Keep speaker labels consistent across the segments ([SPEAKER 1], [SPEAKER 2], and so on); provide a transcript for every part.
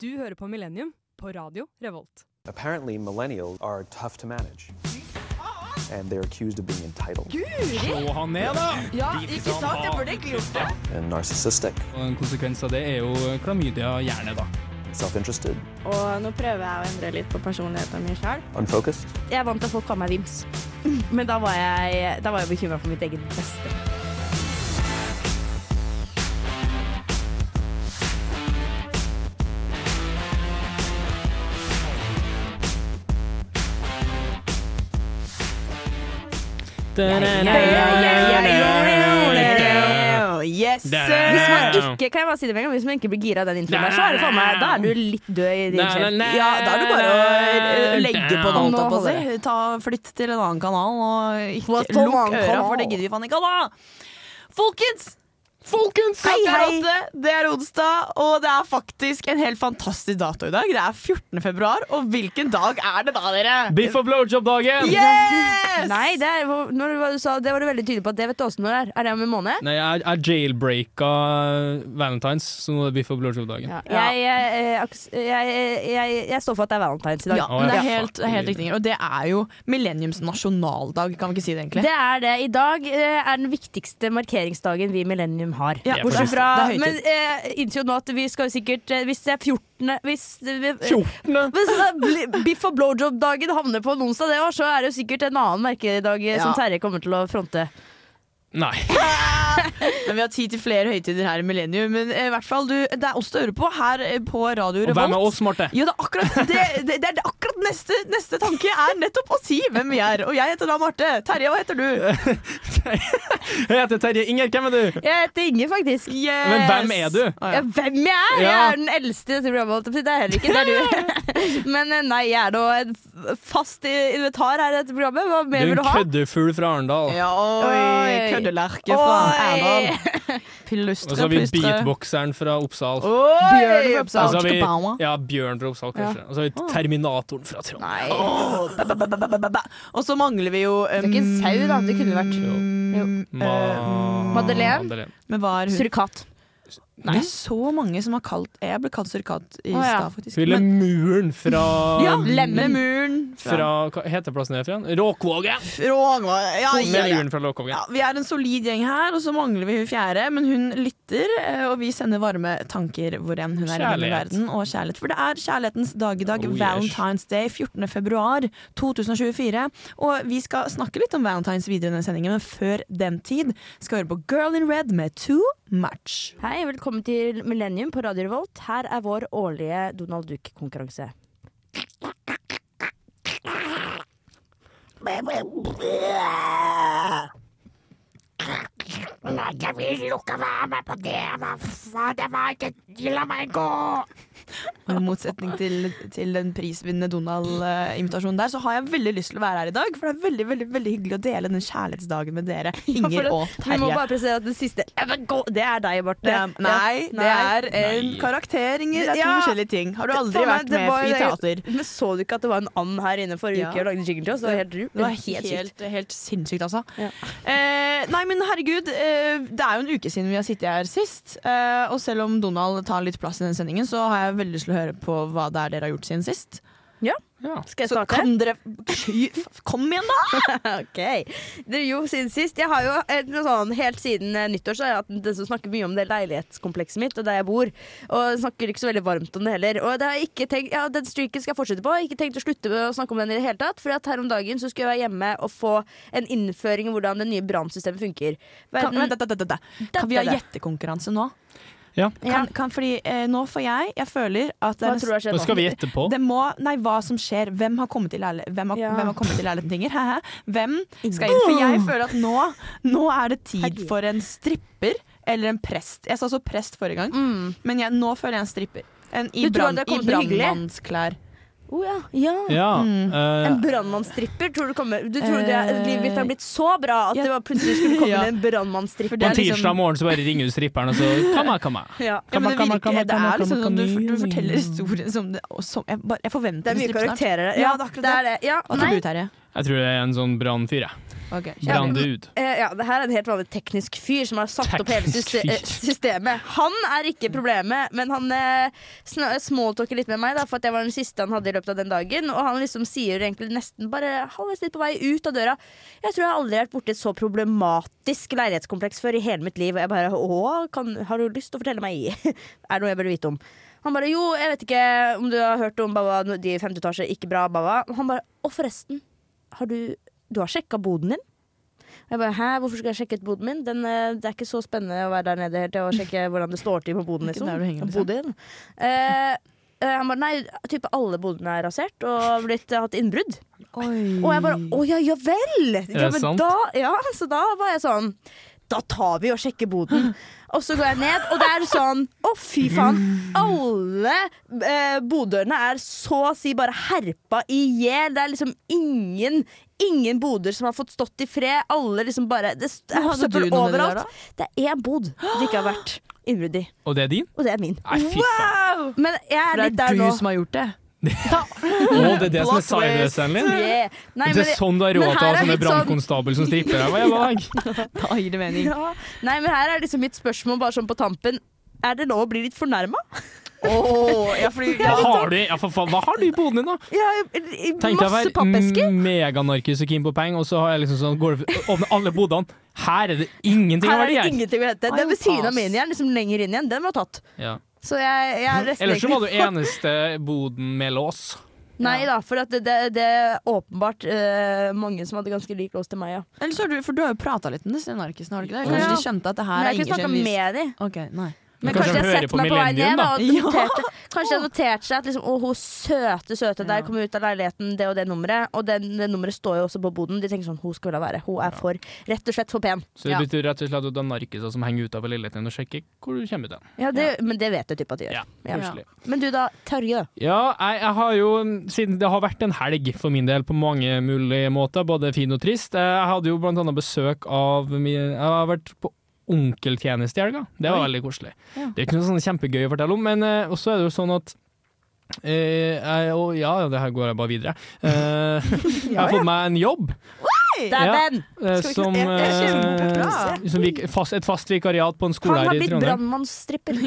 [SPEAKER 1] Du hører på Millennium på Radio Revolt.
[SPEAKER 2] Apparently, millennials are tough to manage. And they're accused of being entitled
[SPEAKER 3] Slå han ned, da!
[SPEAKER 4] Ja, ikke sant? Jeg burde egentlig gjort det.
[SPEAKER 2] and narcissistic,
[SPEAKER 3] Og en konsekvens av det er jo klamydia hjerne, da.
[SPEAKER 2] self interested,
[SPEAKER 5] Og nå prøver jeg å endre litt på personligheten min sjøl.
[SPEAKER 2] unfocused.
[SPEAKER 5] Jeg er vant til at folk kaller meg Vims. Men da var jeg, da var jeg bekymra for mitt eget beste. Yes,
[SPEAKER 3] Damn.
[SPEAKER 5] sir! Hvis man ikke kan jeg bare si det med en gang, hvis man ikke blir gira av den introen, der, så er det faen meg, da er du litt død i din sjel.
[SPEAKER 4] Ja, da er det bare å eh, legge på det, holdt jeg på å si. Ta, flytt til en annen kanal og ikke
[SPEAKER 5] Flytt til en
[SPEAKER 4] lukk
[SPEAKER 5] annen
[SPEAKER 4] øra,
[SPEAKER 5] kanal.
[SPEAKER 4] for det gidder vi faen ikke ha da! Folkens!
[SPEAKER 3] Folkens!
[SPEAKER 4] Hei, hei.
[SPEAKER 5] hei.
[SPEAKER 4] Det er onsdag, og det er faktisk en helt fantastisk dato i dag. Det er 14. februar, og hvilken dag er det da, dere?
[SPEAKER 3] Biff og blowjob-dagen!
[SPEAKER 4] Yes!
[SPEAKER 5] Nei, det, er, når, du- du sa, det var du veldig tydelig på at det vet du også når det er. Er det om en måned?
[SPEAKER 3] Nei, jeg er jailbreaka valentines, så nå er det biff og blowjob-dagen.
[SPEAKER 5] Jeg, eh, aks- jeg, jeg, jeg står for at det er valentines i dag.
[SPEAKER 4] Ja,
[SPEAKER 3] Å,
[SPEAKER 4] men det
[SPEAKER 3] ja.
[SPEAKER 4] er helt,
[SPEAKER 3] Fuck.
[SPEAKER 4] helt riktig. Og det er jo millenniums nasjonaldag, kan vi ikke si det egentlig?
[SPEAKER 5] Det er det. I dag eh, er den viktigste markeringsdagen vi i Millennium har.
[SPEAKER 4] Ja,
[SPEAKER 5] Bortsett
[SPEAKER 4] faktisk.
[SPEAKER 5] fra
[SPEAKER 4] Det er høytid.
[SPEAKER 5] Men eh, innser jo nå at vi skal jo sikkert eh, Hvis det er 14. Hvis, eh,
[SPEAKER 3] 14.
[SPEAKER 5] hvis det er bli- Biff og blowjob-dagen havner på en onsdag det år, så er det jo sikkert en annen merkedag eh, som
[SPEAKER 4] Ja.
[SPEAKER 5] Terje kommer til å fronte.
[SPEAKER 3] Nei.
[SPEAKER 4] Men vi har tid til flere høytider her i Millennium. Men eh, i hvert fall, du, det er oss du hører på her eh, på Radio
[SPEAKER 3] Og hvem er
[SPEAKER 4] Revolt.
[SPEAKER 3] oss, Marte?
[SPEAKER 4] Jo, det er akkurat, det, det, det er akkurat neste, neste tanke er nettopp å si hvem vi er. Og jeg heter da Marte. Terje, hva heter du?
[SPEAKER 3] Jeg heter Terje Inger, hvem er du?
[SPEAKER 5] Jeg heter Inge, faktisk.
[SPEAKER 4] Yes.
[SPEAKER 3] Men hvem er du?
[SPEAKER 4] Ah,
[SPEAKER 5] Ja,
[SPEAKER 4] ja.
[SPEAKER 5] hvem jeg er? Jeg
[SPEAKER 3] Ja.
[SPEAKER 5] er den eldste i dette programmet. holdt jeg på å si. Det er heller ikke det er du. Men eh, nei, jeg er nå en f- fast i- inventar her i dette programmet. Hva
[SPEAKER 3] Du
[SPEAKER 5] mer
[SPEAKER 3] er en
[SPEAKER 5] vil du ha?
[SPEAKER 3] køddefugl fra Arendal.
[SPEAKER 4] Ja, oi,
[SPEAKER 5] Oi.
[SPEAKER 4] køddelerke fra
[SPEAKER 5] Oi.
[SPEAKER 4] Erna.
[SPEAKER 3] Og
[SPEAKER 4] Pillustre,
[SPEAKER 3] så har vi
[SPEAKER 4] plystre.
[SPEAKER 3] beatboxeren fra Oppsal.
[SPEAKER 4] Oi,
[SPEAKER 3] Og
[SPEAKER 4] Bjørn fra
[SPEAKER 3] så
[SPEAKER 4] Oppsal.
[SPEAKER 3] har altså, vi
[SPEAKER 4] Chikabawa.
[SPEAKER 3] ja, Bjørn fra Oppsal, kanskje. Og så har vi Terminatoren fra Trondheim.
[SPEAKER 5] Nei.
[SPEAKER 4] Åh, ba, ba, ba, ba, ba, ba, ba. Og så mangler vi jo um,
[SPEAKER 5] Det er ikke en sau, da. Det kunne det vært.
[SPEAKER 4] Mm.
[SPEAKER 5] Jo.
[SPEAKER 3] Ma-
[SPEAKER 5] Madeleine?
[SPEAKER 4] Men hva er hun?
[SPEAKER 5] Surikat.
[SPEAKER 4] Det er så mange som har kalt Jeg ble kalt surikat i
[SPEAKER 5] Å, ja.
[SPEAKER 4] stad, faktisk.
[SPEAKER 3] Ville
[SPEAKER 4] Men-
[SPEAKER 3] muren fra
[SPEAKER 4] ja,
[SPEAKER 5] Lemmen.
[SPEAKER 4] Lememuren.
[SPEAKER 3] Fra, hva heter plassen her igjen? Råkvågen!
[SPEAKER 4] Rågva. Ja, ja,
[SPEAKER 3] Med
[SPEAKER 4] ja.
[SPEAKER 3] muren fra Råkvågen.
[SPEAKER 4] ja, vi er en solid gjeng her, og så mangler vi hun fjerde. Men hun lytter, eh, og vi sender varme tanker hvor enn hun er i hele
[SPEAKER 3] Kjærlighet.
[SPEAKER 4] verden. Og kjærlighet. For det er kjærlighetens dag i dag.
[SPEAKER 3] Oh, yes.
[SPEAKER 4] Valentine's Day 14. februar 2024. Og vi skal snakke litt om Valentine's videre i denne sendingen, men før den tid skal vi høre på Girl in Red med Too Much.
[SPEAKER 5] Hei, velkommen til Millennium på Radio Revolt. Her er vår årlige Donald Duck-konkurranse.
[SPEAKER 4] Og I motsetning til, til den prisvinnende Donald-invitasjonen der, så har jeg veldig lyst til å være her i dag. For det er veldig veldig, veldig hyggelig å dele den kjærlighetsdagen med dere,
[SPEAKER 5] For
[SPEAKER 4] Inger
[SPEAKER 5] det-
[SPEAKER 4] og
[SPEAKER 5] Vi må
[SPEAKER 4] Terje.
[SPEAKER 5] bare presisere at det siste Ja, men gå- Det er deg, Barte.
[SPEAKER 4] Det er, nei,
[SPEAKER 5] Ja.
[SPEAKER 4] det er en
[SPEAKER 3] Nei.
[SPEAKER 4] karakter, Inger. Det er to
[SPEAKER 5] Ja.
[SPEAKER 4] forskjellige ting. Har du aldri
[SPEAKER 5] Faen meg,
[SPEAKER 4] vært
[SPEAKER 5] det
[SPEAKER 4] med
[SPEAKER 5] var-
[SPEAKER 4] i teater?
[SPEAKER 5] Men så du ikke at det var en and her inne forrige
[SPEAKER 4] Ja.
[SPEAKER 5] uke og lagde jingle til oss? Det var helt, ru-
[SPEAKER 4] Det var
[SPEAKER 5] helt
[SPEAKER 4] helt,
[SPEAKER 5] sykt.
[SPEAKER 4] helt, sinnssykt, altså.
[SPEAKER 5] Ja.
[SPEAKER 4] Eh, nei, men herregud, eh, det er jo en uke siden vi har sittet her sist. Eh, og selv om Donald tar litt plass i den sendingen, så har jeg veldig lyst til å høre på hva det er dere har gjort siden sist.
[SPEAKER 3] Ja.
[SPEAKER 5] Skal jeg
[SPEAKER 4] Så
[SPEAKER 5] starte?
[SPEAKER 4] kan dere Sky- Kom igjen, da!
[SPEAKER 5] Ok. Det er jo siden sist. Jeg har jo eh, noe sånn, helt siden eh, nyttår så har jeg hatt en tendens til å snakke mye om det leilighetskomplekset mitt og der jeg bor. Og snakker ikke så veldig varmt om det heller. Og det har jeg ikke tenkt, ja, den streaken skal jeg fortsette på. Jeg har ikke tenkt å slutte med å snakke om den i det hele tatt. For at her om dagen så skulle jeg være hjemme og få en innføring i hvordan det nye brannsystemet funker.
[SPEAKER 4] Kan,
[SPEAKER 5] Verden,
[SPEAKER 4] vent, vent, vent, vent, vent. kan vi ha
[SPEAKER 5] Dette, det.
[SPEAKER 4] gjettekonkurranse nå?
[SPEAKER 3] Ja.
[SPEAKER 4] Kan, kan, fordi eh, nå får jeg Jeg føler at det,
[SPEAKER 5] hva
[SPEAKER 4] er
[SPEAKER 5] tror du har
[SPEAKER 3] Da
[SPEAKER 5] skjedd
[SPEAKER 3] skal
[SPEAKER 5] nå?
[SPEAKER 3] vi gjette på.
[SPEAKER 4] det må Nei, hva som skjer. Hvem har kommet i leil- hvem har,
[SPEAKER 5] Ja.
[SPEAKER 4] hvem har kommet i leiligheten til Inger? Hæ, hæ? Hvem skal inn? For jeg føler at nå, nå er det tid
[SPEAKER 5] Herregud.
[SPEAKER 4] for en stripper eller en prest. Jeg sa så prest forrige gang,
[SPEAKER 5] Mm.
[SPEAKER 4] men jeg, nå føler jeg en stripper. En i
[SPEAKER 5] Du tror at
[SPEAKER 4] brann-
[SPEAKER 5] det
[SPEAKER 4] i
[SPEAKER 5] kommer til å bli hyggelig?
[SPEAKER 4] brannmannsklær.
[SPEAKER 5] Oh, ja. Ja.
[SPEAKER 3] Ja.
[SPEAKER 5] Mm. En
[SPEAKER 3] eh,
[SPEAKER 5] brannmannsstripper? Tror du kommer Du tror det,
[SPEAKER 4] Eh,
[SPEAKER 5] livet mitt har blitt så bra at
[SPEAKER 4] ja.
[SPEAKER 5] det var plutselig skulle komme
[SPEAKER 4] Ja.
[SPEAKER 5] en brannmannsstripper?
[SPEAKER 3] på
[SPEAKER 4] det er liksom-
[SPEAKER 3] tirsdag morgen så bare ringer du stripperen og så Kamma, kamma.
[SPEAKER 5] Ja.
[SPEAKER 4] Ja, men det,
[SPEAKER 3] Kamma, kamma,
[SPEAKER 4] virker,
[SPEAKER 3] kamma,
[SPEAKER 4] det
[SPEAKER 3] kamma,
[SPEAKER 4] er liksom
[SPEAKER 3] kamma,
[SPEAKER 4] sånn du,
[SPEAKER 3] kamma.
[SPEAKER 4] du forteller historien som det og som, jeg, bare, jeg forventer
[SPEAKER 5] Det er mye
[SPEAKER 4] en stripp snart.
[SPEAKER 5] karakterer der.
[SPEAKER 4] Ja, det er akkurat det.
[SPEAKER 5] Ja,
[SPEAKER 4] Hva
[SPEAKER 5] nei,
[SPEAKER 4] tror du, Terje?
[SPEAKER 3] Jeg tror det er en sånn brannfyr, jeg.
[SPEAKER 4] Ok,
[SPEAKER 5] Ja,
[SPEAKER 4] kjære.
[SPEAKER 5] men-
[SPEAKER 3] Branndude.
[SPEAKER 5] Eh, ja, det her er en helt vanlig teknisk fyr som har satt opp hele
[SPEAKER 3] Teknisk
[SPEAKER 5] syste
[SPEAKER 3] fyr.
[SPEAKER 5] eh, systemet. Han er
[SPEAKER 4] Mm.
[SPEAKER 5] ikke problemet, men han eh, sn- smalltalker litt med meg, da, for at jeg var den siste han hadde i løpet av den dagen. Og han liksom sier egentlig nesten bare halvveis litt på vei ut av døra Jeg tror jeg aldri har vært borti et så problematisk leilighetskompleks før i hele mitt liv. Og jeg bare Å, kan, har du lyst til å fortelle meg? er det noe jeg burde vite om? Han bare Jo, jeg vet ikke om du har hørt om Baba, de i femte etasje, ikke bra, Baba. Han bare Og forresten, har du Du har sjekka boden din? Og Jeg bare, hæ, hvorfor skal jeg sjekke ut boden min? Den, eh, det er ikke så spennende å være der nede helt til å sjekke hvordan det står til på boden.
[SPEAKER 4] Ikke
[SPEAKER 5] liksom.
[SPEAKER 4] der du henger, liksom.
[SPEAKER 5] Boden. Eh, eh, han bare, nei, type alle bodene er rasert og blitt eh, hatt innbrudd. Og jeg
[SPEAKER 4] Mm.
[SPEAKER 5] bare, å ja, ja vel! Ja,
[SPEAKER 3] det
[SPEAKER 5] men
[SPEAKER 3] sant?
[SPEAKER 5] da, ja, så da var jeg sånn, da tar vi og sjekker boden. Og så går jeg ned, og det er sånn, å fy faen, alle eh, bodørene er så å si bare herpa i hjel. Det er liksom ingen, ingen boder som har fått stått i fred. Alle liksom bare, det
[SPEAKER 4] Men
[SPEAKER 5] er
[SPEAKER 4] hadde du
[SPEAKER 5] søppel
[SPEAKER 4] noe med det der,
[SPEAKER 5] overalt. Det er én bod det ikke har vært innbrudd i,
[SPEAKER 3] Og det er din?
[SPEAKER 5] og det er min.
[SPEAKER 3] Nei, fy faen.
[SPEAKER 5] Men jeg er
[SPEAKER 4] Det
[SPEAKER 5] litt
[SPEAKER 4] er
[SPEAKER 5] der
[SPEAKER 4] du
[SPEAKER 5] nå.
[SPEAKER 4] som har gjort det.
[SPEAKER 3] Å, det er det som er
[SPEAKER 4] Plot twist.
[SPEAKER 3] sidewesteren din?
[SPEAKER 5] Yeah. Nei,
[SPEAKER 3] det
[SPEAKER 5] men
[SPEAKER 3] er sånn du har
[SPEAKER 5] men
[SPEAKER 3] råd til å
[SPEAKER 5] her
[SPEAKER 3] ha
[SPEAKER 5] er
[SPEAKER 3] sånne
[SPEAKER 5] litt sånn-
[SPEAKER 3] brannkonstabel som stripper deg hver dag.
[SPEAKER 4] Da gir det mening.
[SPEAKER 5] Ja. Nei, men her er liksom mitt spørsmål bare sånn på tampen. Er det lov å bli litt fornærma?
[SPEAKER 3] Hva
[SPEAKER 5] sånn
[SPEAKER 3] har du, ja, for faen, hva har du i boden din, da?
[SPEAKER 5] Ja,
[SPEAKER 3] Tenkte
[SPEAKER 5] masse
[SPEAKER 3] jeg å være mm,
[SPEAKER 5] pappesker.
[SPEAKER 3] meganarkis og keen på penger, og så har jeg liksom sånn, går det- åpner alle bodene. Her er det ingenting
[SPEAKER 5] Her
[SPEAKER 3] av
[SPEAKER 5] er
[SPEAKER 3] verdi
[SPEAKER 5] det
[SPEAKER 3] her.
[SPEAKER 5] ingenting å hente. Den ved siden av min igjen, liksom lenger inn igjen, den var tatt.
[SPEAKER 3] Ja.
[SPEAKER 5] Så jeg, jeg er nesten
[SPEAKER 3] Ellers så var du
[SPEAKER 5] egentlig-
[SPEAKER 3] eneste boden med lås.
[SPEAKER 5] Nei da, for at det, det, det er åpenbart eh, mange som hadde ganske lik lås til meg, ja.
[SPEAKER 4] Eller så har du, for du har jo prata litt om disse narkisene, har du ikke det?
[SPEAKER 5] Ja.
[SPEAKER 4] Kanskje de skjønte at det
[SPEAKER 5] Men
[SPEAKER 4] her
[SPEAKER 5] jeg har
[SPEAKER 4] er
[SPEAKER 5] ikke
[SPEAKER 4] ingen
[SPEAKER 5] snakka
[SPEAKER 4] kjendis?
[SPEAKER 5] med dem.
[SPEAKER 4] Ok, nei.
[SPEAKER 5] Men
[SPEAKER 3] Kanskje
[SPEAKER 5] kanskje jeg
[SPEAKER 3] de hører
[SPEAKER 5] setter
[SPEAKER 3] på
[SPEAKER 5] meg på vei
[SPEAKER 3] Millennium,
[SPEAKER 5] ned da, og
[SPEAKER 4] da. Ja.
[SPEAKER 5] noterte, Kanskje jeg noterte seg at liksom, å, hun søte søte der kom ut av leiligheten, det og det nummeret. Og det, det nummeret står jo også på boden. De tenker sånn, hun skal vel la være. Hun er for, rett og slett for pen.
[SPEAKER 3] Så det betyr rett og slett at det er narkiser som henger utafor leiligheten og sjekker hvor du kommer ut hen.
[SPEAKER 5] Ja, det, Men det vet jeg typ at de gjør.
[SPEAKER 3] Ja,
[SPEAKER 5] Ja.
[SPEAKER 3] koselig.
[SPEAKER 5] Men du da, Terje.
[SPEAKER 3] Ja, jeg, jeg har jo, siden det har vært en helg for min del på mange mulige måter, både fin og trist. eh, Jeg hadde jo blant annet besøk av min, Jeg har vært på onkeltjeneste i helga. Det var
[SPEAKER 4] Oi.
[SPEAKER 3] veldig koselig.
[SPEAKER 4] Ja.
[SPEAKER 3] Det er ikke noe sånn kjempegøy å fortelle om, men eh, også er det jo sånn at eh, jeg, og ja, det her går jeg bare videre. Eh, jeg har fått meg en jobb
[SPEAKER 5] Det er
[SPEAKER 3] Ja.
[SPEAKER 5] den!
[SPEAKER 3] eh,
[SPEAKER 5] Skal vi ikke-
[SPEAKER 3] som,
[SPEAKER 5] Det er
[SPEAKER 3] eh,
[SPEAKER 5] kjempebra.
[SPEAKER 3] som vik, fast, et fast vikariat på en skole
[SPEAKER 5] Han har
[SPEAKER 3] her i
[SPEAKER 5] blitt
[SPEAKER 3] Trondheim.
[SPEAKER 5] brannmannsstripper.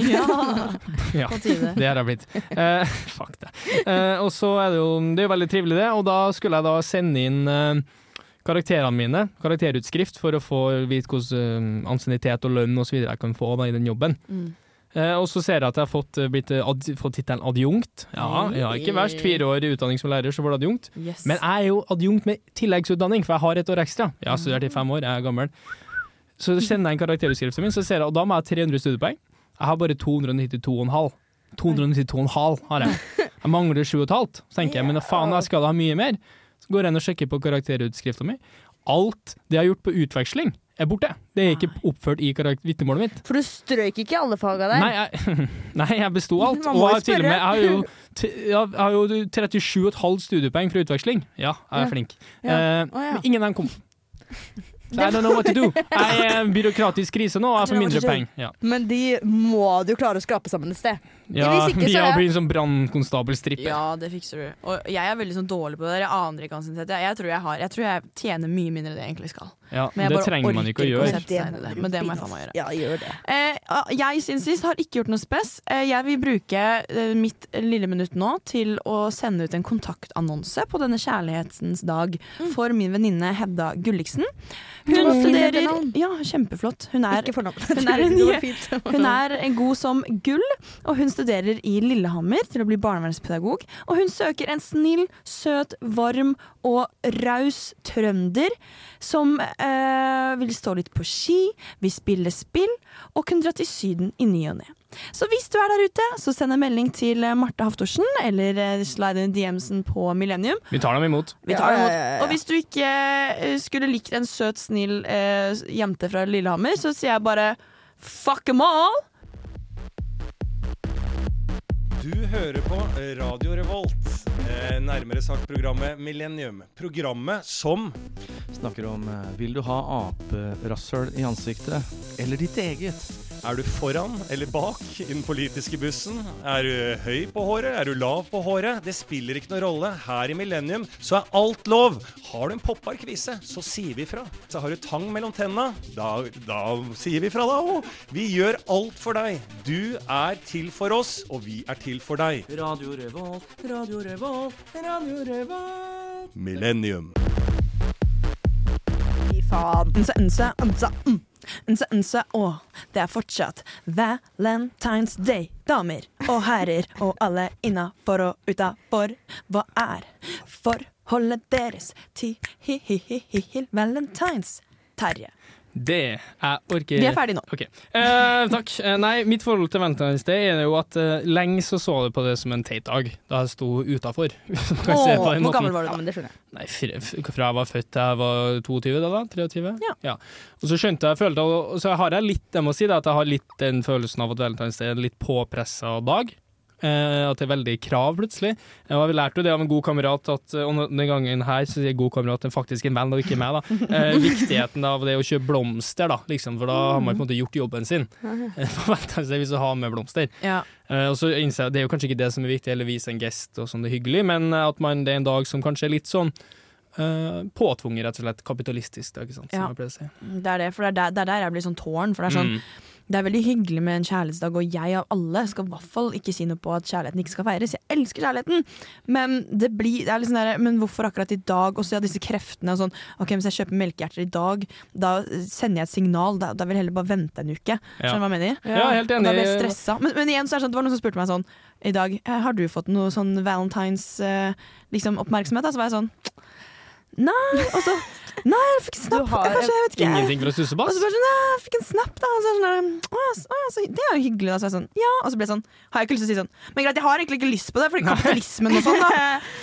[SPEAKER 3] Ja.
[SPEAKER 4] På tide.
[SPEAKER 3] Det har jeg blitt. Eh, fuck det. Eh, og så er det jo Det er jo veldig trivelig, det. Og da skulle jeg da sende inn eh, karakterene mine, karakterutskrift, for å få vite hvordan eh, ansiennitet og lønn osv. jeg kan få da, i den jobben.
[SPEAKER 4] Mm.
[SPEAKER 3] Eh, og så ser jeg at jeg har fått, eh, blitt, eh, ad, fått tittelen adjunkt. Ja, ja, ikke verst. Fire år i utdanning som lærer, så var det adjunkt.
[SPEAKER 4] Yes.
[SPEAKER 3] Men jeg er jo adjunkt med tilleggsutdanning, for jeg har et år ekstra. Jeg har studert i fem år, jeg er gammel. Så kjenner jeg en karakterutskriften min, så ser jeg, og da må jeg ha 300 studiepoeng. Jeg har bare 292,5. 292,5 har jeg. Jeg mangler 7,5. Så tenker jeg, men faen, jeg skal da ha mye mer. Så går jeg inn og sjekker på karakterutskriften min. Alt det jeg har gjort på utveksling, er borte. Det er ikke oppført i karakter- vitnemålet mitt.
[SPEAKER 5] For du strøyk ikke i alle faga der.
[SPEAKER 3] Nei, jeg, nei, jeg besto alt.
[SPEAKER 5] Man
[SPEAKER 3] Og
[SPEAKER 5] må jo
[SPEAKER 3] jeg, har til og med, jeg, har
[SPEAKER 5] spørre.
[SPEAKER 3] jo, t- jeg har jo 37,5 studiepoeng fra utveksling. Ja, jeg
[SPEAKER 5] Ja.
[SPEAKER 3] er flink.
[SPEAKER 5] Ja.
[SPEAKER 3] Eh,
[SPEAKER 5] Å, ja.
[SPEAKER 3] Men ingen av dem kom. Så I don't know what to do. Jeg er en byråkratisk krise nå, og jeg
[SPEAKER 5] I
[SPEAKER 3] får
[SPEAKER 5] don't know
[SPEAKER 3] mindre
[SPEAKER 5] what to do.
[SPEAKER 3] penger. Ja.
[SPEAKER 5] Men de må du klare å skrape sammen et sted.
[SPEAKER 3] Ja,
[SPEAKER 5] Hvis ikke, så
[SPEAKER 3] Bia
[SPEAKER 5] er-
[SPEAKER 3] blir sånn som brannkonstabelstripper.
[SPEAKER 4] Ja, det fikser du. Og jeg er veldig sånn dårlig på det der. Jeg aner ikke ansiennitet. Jeg, jeg tror jeg har Jeg tror jeg tjener mye mindre enn det jeg egentlig skal.
[SPEAKER 3] Ja,
[SPEAKER 4] Men jeg
[SPEAKER 3] det
[SPEAKER 4] bare
[SPEAKER 3] trenger man ikke å
[SPEAKER 4] orker ikke å
[SPEAKER 3] gjøre.
[SPEAKER 4] sette- seg inn i det, men det må jeg faen meg gjøre.
[SPEAKER 5] Ja, gjør det.
[SPEAKER 4] Eh, jeg siden sist har ikke gjort noe spes. Eh, jeg vil bruke eh, mitt lille minutt nå til å sende ut en kontaktannonse på denne kjærlighetens dag for min venninne Hedda Gulliksen. Hun
[SPEAKER 5] Det var fint
[SPEAKER 4] studerer
[SPEAKER 5] etternavn.
[SPEAKER 4] Ja, kjempeflott. Hun er
[SPEAKER 5] Ikke fornavn.
[SPEAKER 4] Hun er en
[SPEAKER 5] Det går
[SPEAKER 4] je-
[SPEAKER 5] fint.
[SPEAKER 4] hun er god som gull, og hun studerer i Lillehammer til å bli barnevernspedagog. Og hun søker en snill, søt, varm og raus trønder som eh, vil stå litt på ski, vil spille spill og kunne dra til Syden i ny og ne. Så hvis du er der ute, så send en melding til eh, Marte Haftorsen eller eh, slide inn i DM-en på Millennium.
[SPEAKER 3] Vi tar dem imot.
[SPEAKER 4] Vi tar
[SPEAKER 5] Ja,
[SPEAKER 4] imot.
[SPEAKER 5] ja, ja, ja.
[SPEAKER 4] Og hvis du ikke eh, skulle likt en søt, snill eh, jente fra Lillehammer, så sier jeg bare fuck them all!
[SPEAKER 6] Du hører på Radio Revolt, eh, nærmere sagt programmet Millennium. Programmet som
[SPEAKER 7] Snakker om eh, Vil du ha aperasshøl i ansiktet? Eller ditt eget?
[SPEAKER 6] Er du foran eller bak i den politiske bussen? Er du høy på håret? Er du lav på håret? Det spiller ikke noen rolle. Her i Millennium så er alt lov. Har du en popparkvise, så sier vi fra. Så har du tang mellom tenna, da, da sier vi fra da òg. Vi gjør alt for deg. Du er til for oss, og vi er til for deg.
[SPEAKER 7] Radio Revolt, Radio Revolt, Radio Revolt.
[SPEAKER 6] Millennium.
[SPEAKER 5] Fy faen.
[SPEAKER 4] Ense, ense, ense, mm. ense, ense, å. Det er fortsatt Valentine's Day. Damer og herrer og alle innafor og utafor. Hva er forholdet deres til hi-hi-hi-hi Valentine's? Terje.
[SPEAKER 3] Det jeg orker
[SPEAKER 4] Vi er ferdige nå.
[SPEAKER 3] Ok. Eh, takk. Eh, nei, mitt forhold til Valentine's Day er jo at eh, lenge så så jeg på det som en teit dag, da jeg sto utafor.
[SPEAKER 4] Åh, hvor gammel var
[SPEAKER 5] Ja,
[SPEAKER 4] du da?
[SPEAKER 5] men det skjønner jeg.
[SPEAKER 3] Nei, fr- f- fra jeg var født til jeg var 22, da, da 23?
[SPEAKER 4] Ja.
[SPEAKER 3] Og så skjønte jeg, følte jeg, og så har jeg litt, jeg må si det, at jeg har litt den følelsen av at Valentine's Day er en litt påpressa dag. Eh, at det er veldig krav, plutselig. Eh, Og jeg lærte jo det av en god kamerat, at, eh, og nå- denne gangen her så sier god kamerat en faktisk en venn, og ikke meg, da. Eh, viktigheten av det å kjøpe blomster, da, liksom, for da har man på en måte gjort jobben sin. Eh, På Valentine's Day hvis du har med blomster.
[SPEAKER 4] Ja.
[SPEAKER 3] Eh, og så innser jeg at Det er jo kanskje ikke det som er viktig, eller vise en gest og sånn det er hyggelig, men eh, at man, det er en dag som kanskje er litt sånn eh, påtvunget, rett og slett, kapitalistisk, da, ikke sant, som
[SPEAKER 4] Ja.
[SPEAKER 3] jeg pleier å si. Mm,
[SPEAKER 4] Det er det, for det er der, det er der jeg blir sånn tårn. For det er sånn, det er veldig hyggelig med en kjærlighetsdag, og jeg av alle skal i hvert fall ikke si noe på at kjærligheten ikke skal feires. Jeg elsker kjærligheten, men, det blir, det er liksom der, men hvorfor akkurat i dag? Og så ja, disse kreftene og sånn. Ok, Hvis jeg kjøper melkehjerter i dag, da sender jeg et signal. Da, da vil jeg heller bare vente en uke.
[SPEAKER 3] Ja.
[SPEAKER 4] Skjønner du hva jeg mener?
[SPEAKER 3] Ja, jeg er helt
[SPEAKER 4] Og da blir jeg
[SPEAKER 3] enig.
[SPEAKER 4] stressa. Men, men igjen så er det sånn, det var noen som spurte meg sånn i dag «Eh, Har du fått noe sånn valentines eh, liksom, oppmerksomhet. Da? Så var jeg sånn Nei. Og så Nei, jeg fikk snap.
[SPEAKER 5] har
[SPEAKER 4] Kanskje, jeg vet ikke.
[SPEAKER 3] Ingenting fra
[SPEAKER 4] Og
[SPEAKER 3] Sussebass.
[SPEAKER 4] så bare sånn, «Nei, jeg fikk en snap da Og så er det sånn, der, «Å, ja, så- å, ja, så, Det er jo hyggelig da Så er jeg sånn, ja Og så ble jeg sånn, har jeg ikke lyst til å si sånn Men greit, jeg har egentlig ikke lyst på det Fordi kapitalismen og sånn da